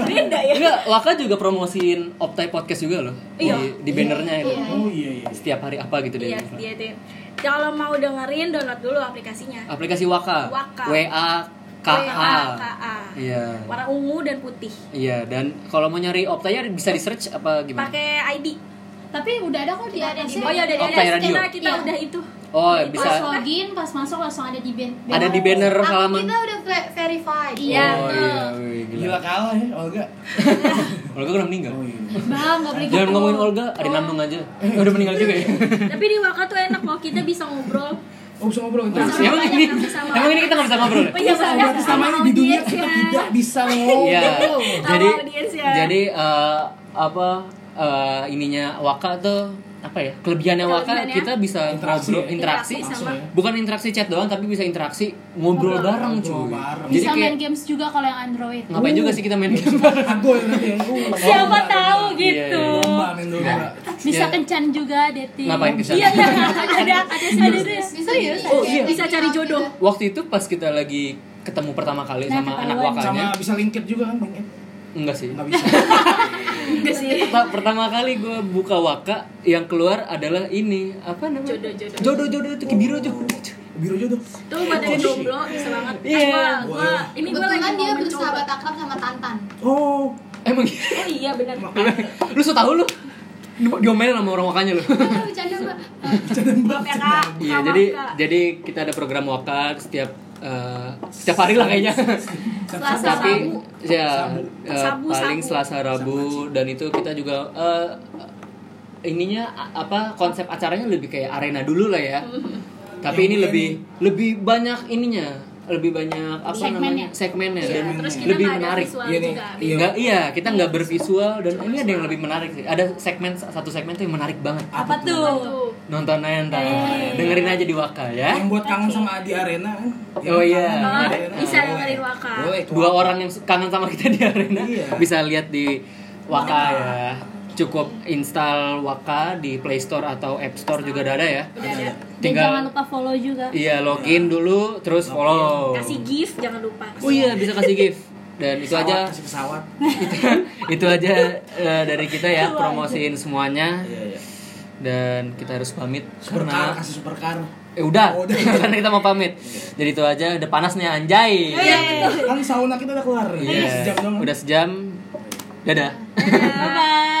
C: beda ya.
A: Enggak, Waka juga promosiin Optai Podcast juga loh.
C: Iya.
A: Di, di bannernya itu.
G: oh iya iya
A: Setiap hari apa gitu deh.
C: Iya, dia itu. Kalau mau dengerin download dulu aplikasinya.
A: Aplikasi Waka.
C: Waka.
A: W A K A.
C: WAKA.
A: Iya.
C: Warna ungu dan putih.
A: Iya, dan kalau mau nyari Optai ya bisa di search apa gimana?
C: Pakai ID.
D: tapi udah ada kok di atasnya
C: Oh ya udah
A: Oh,
C: ada
A: pakai radio.
C: karena kita udah itu.
A: Oh,
D: pas
A: bisa.
D: login pas masuk langsung ada di ban- banner
A: Ada di banner
E: Akun
A: halaman.
E: kita udah ve- verified
D: Iya,
A: Oh
D: betul.
A: iya, wih,
G: Gila
A: gila.
G: kalah ya Olga.
A: Olga kan udah meninggal.
B: Oh, iya.
D: bang nggak boleh gitu
A: Jangan ngomongin Olga, ada Nandung aja. Eh, udah meninggal juga ya.
C: Tapi di Waka tuh enak kalau kita bisa ngobrol.
B: Oh, bisa ngobrol
A: Nah,
B: terus.
C: Sama
A: emang
C: banyak
A: ini,
C: yang sama.
A: emang ini kita nggak bisa ngobrol. ya?
C: Oh iya,
B: Yang
C: sama
B: selama ini di dunia kita tidak bisa ngobrol.
A: Iya. Jadi
C: audiens ya.
A: jadi eh, apa eh, ininya Waka tuh apa ya? Kelebihannya Waka
C: Kelebihannya?
A: kita bisa
G: Interaksi
A: ngobrol
G: ya?
A: interaksi.
C: Interaksi sama.
A: Bukan interaksi chat doang tapi bisa interaksi ngobrol bareng
G: Ngobrol
A: cuy.
G: bareng.
A: Jadi
D: bisa
A: kayak Ya.
D: main games juga kalau yang Android
A: ngapain
C: Uh.
A: juga sih kita main game
C: Iya.
A: bareng?
B: Aku yang nanti yang uh,
D: siapa tahu
A: Iya,
D: gitu
A: iya.
B: Domba main domba.
D: bisa
A: Iya.
D: kencan juga dating
A: Ngapain ke sana?
C: Iya, iya, ada ada serius.
E: bisa ya,
D: Serius?
E: bisa
A: Oh, iya.
E: chatting
C: Bisa cari
E: sama
C: jodoh.
E: kita.
A: Waktu itu pas kita lagi ketemu pertama kali
D: Nah,
A: sama
D: ketahuan.
A: anak
G: Sama
A: wakanya.
G: bisa lingkit juga kan, Bang.
B: ya?
G: Eh,
A: Enggak sih.
G: Nggak bisa.
C: Enggak sih.
A: Perta- pertama kali gue buka waka yang keluar adalah ini apa namanya
C: Jodoh, jodoh.
A: jodoh jodoh itu kayak biru jodoh
G: Biru jodoh.
C: Tuh pada yang jomblo bisa banget. Eh,
A: Iya.
C: Gua, gua ini gua lagi
E: kebetulan dia
C: mau mencoba.
E: bersahabat akrab sama Tantan
G: Oh,
A: emang
C: Eh, iya benar.
A: lu so tau lu Lu diomelin sama orang wakanya lu
E: Aduh, bercanda mbak
C: Mbak Pera.
A: iya
C: sama
A: jadi
C: Kak.
A: jadi kita ada program waka setiap eh, setiap hari lah kayaknya
C: Selasa
A: tapi
C: Rabu.
A: ya eh,
C: Sabu,
A: paling
C: sabu.
A: selasa rabu dan itu kita juga eh, ininya a- apa konsep acaranya lebih kayak arena dulu lah ya tapi ini lebih lebih banyak ininya lebih banyak apa namanya
D: Segmennya.
A: segmennya
C: Iya,
A: dan
C: terus kita
A: lebih
C: nggak ada
A: menarik
C: visual
G: Iya nih.
C: juga. gitu.
G: Iya.
A: Nggak- iya kita nggak bervisual dan ini ada yang lebih menarik sih ada segmen satu segmen tuh yang menarik banget
D: apa tuh
C: Tuh.
A: nonton aja ntar dengerin aja di Waka ya
B: Yang buat kangen sama di arena kan.
A: oh iya
C: Oh, bisa dengerin Waka.
B: Boleh.
A: dua orang yang kangen sama kita di arena
G: Iya.
A: bisa lihat di Waka ya cukup install Waka di Play Store atau App Store juga udah ada ya
C: Udah ada.
D: dan jangan
A: tinggal
D: lupa follow juga
A: iya login dulu terus follow
C: Kasih gift jangan lupa.
A: oh iya bisa kasih gift dan itu
G: pesawat,
A: aja
G: kasih pesawat.
A: itu aja eh, dari kita ya promosiin semuanya
G: Iya, iya.
A: dan kita harus pamit
G: Supercar,
A: karena
G: kasih supercar.
A: eh udah
G: Oh, udah.
A: karena kita mau pamit jadi itu aja udah panas nih anjay
G: Kan sauna kita Iya, udah keluar.
A: Iya.
G: Sejam dong.
A: udah sejam dadah
D: bye bye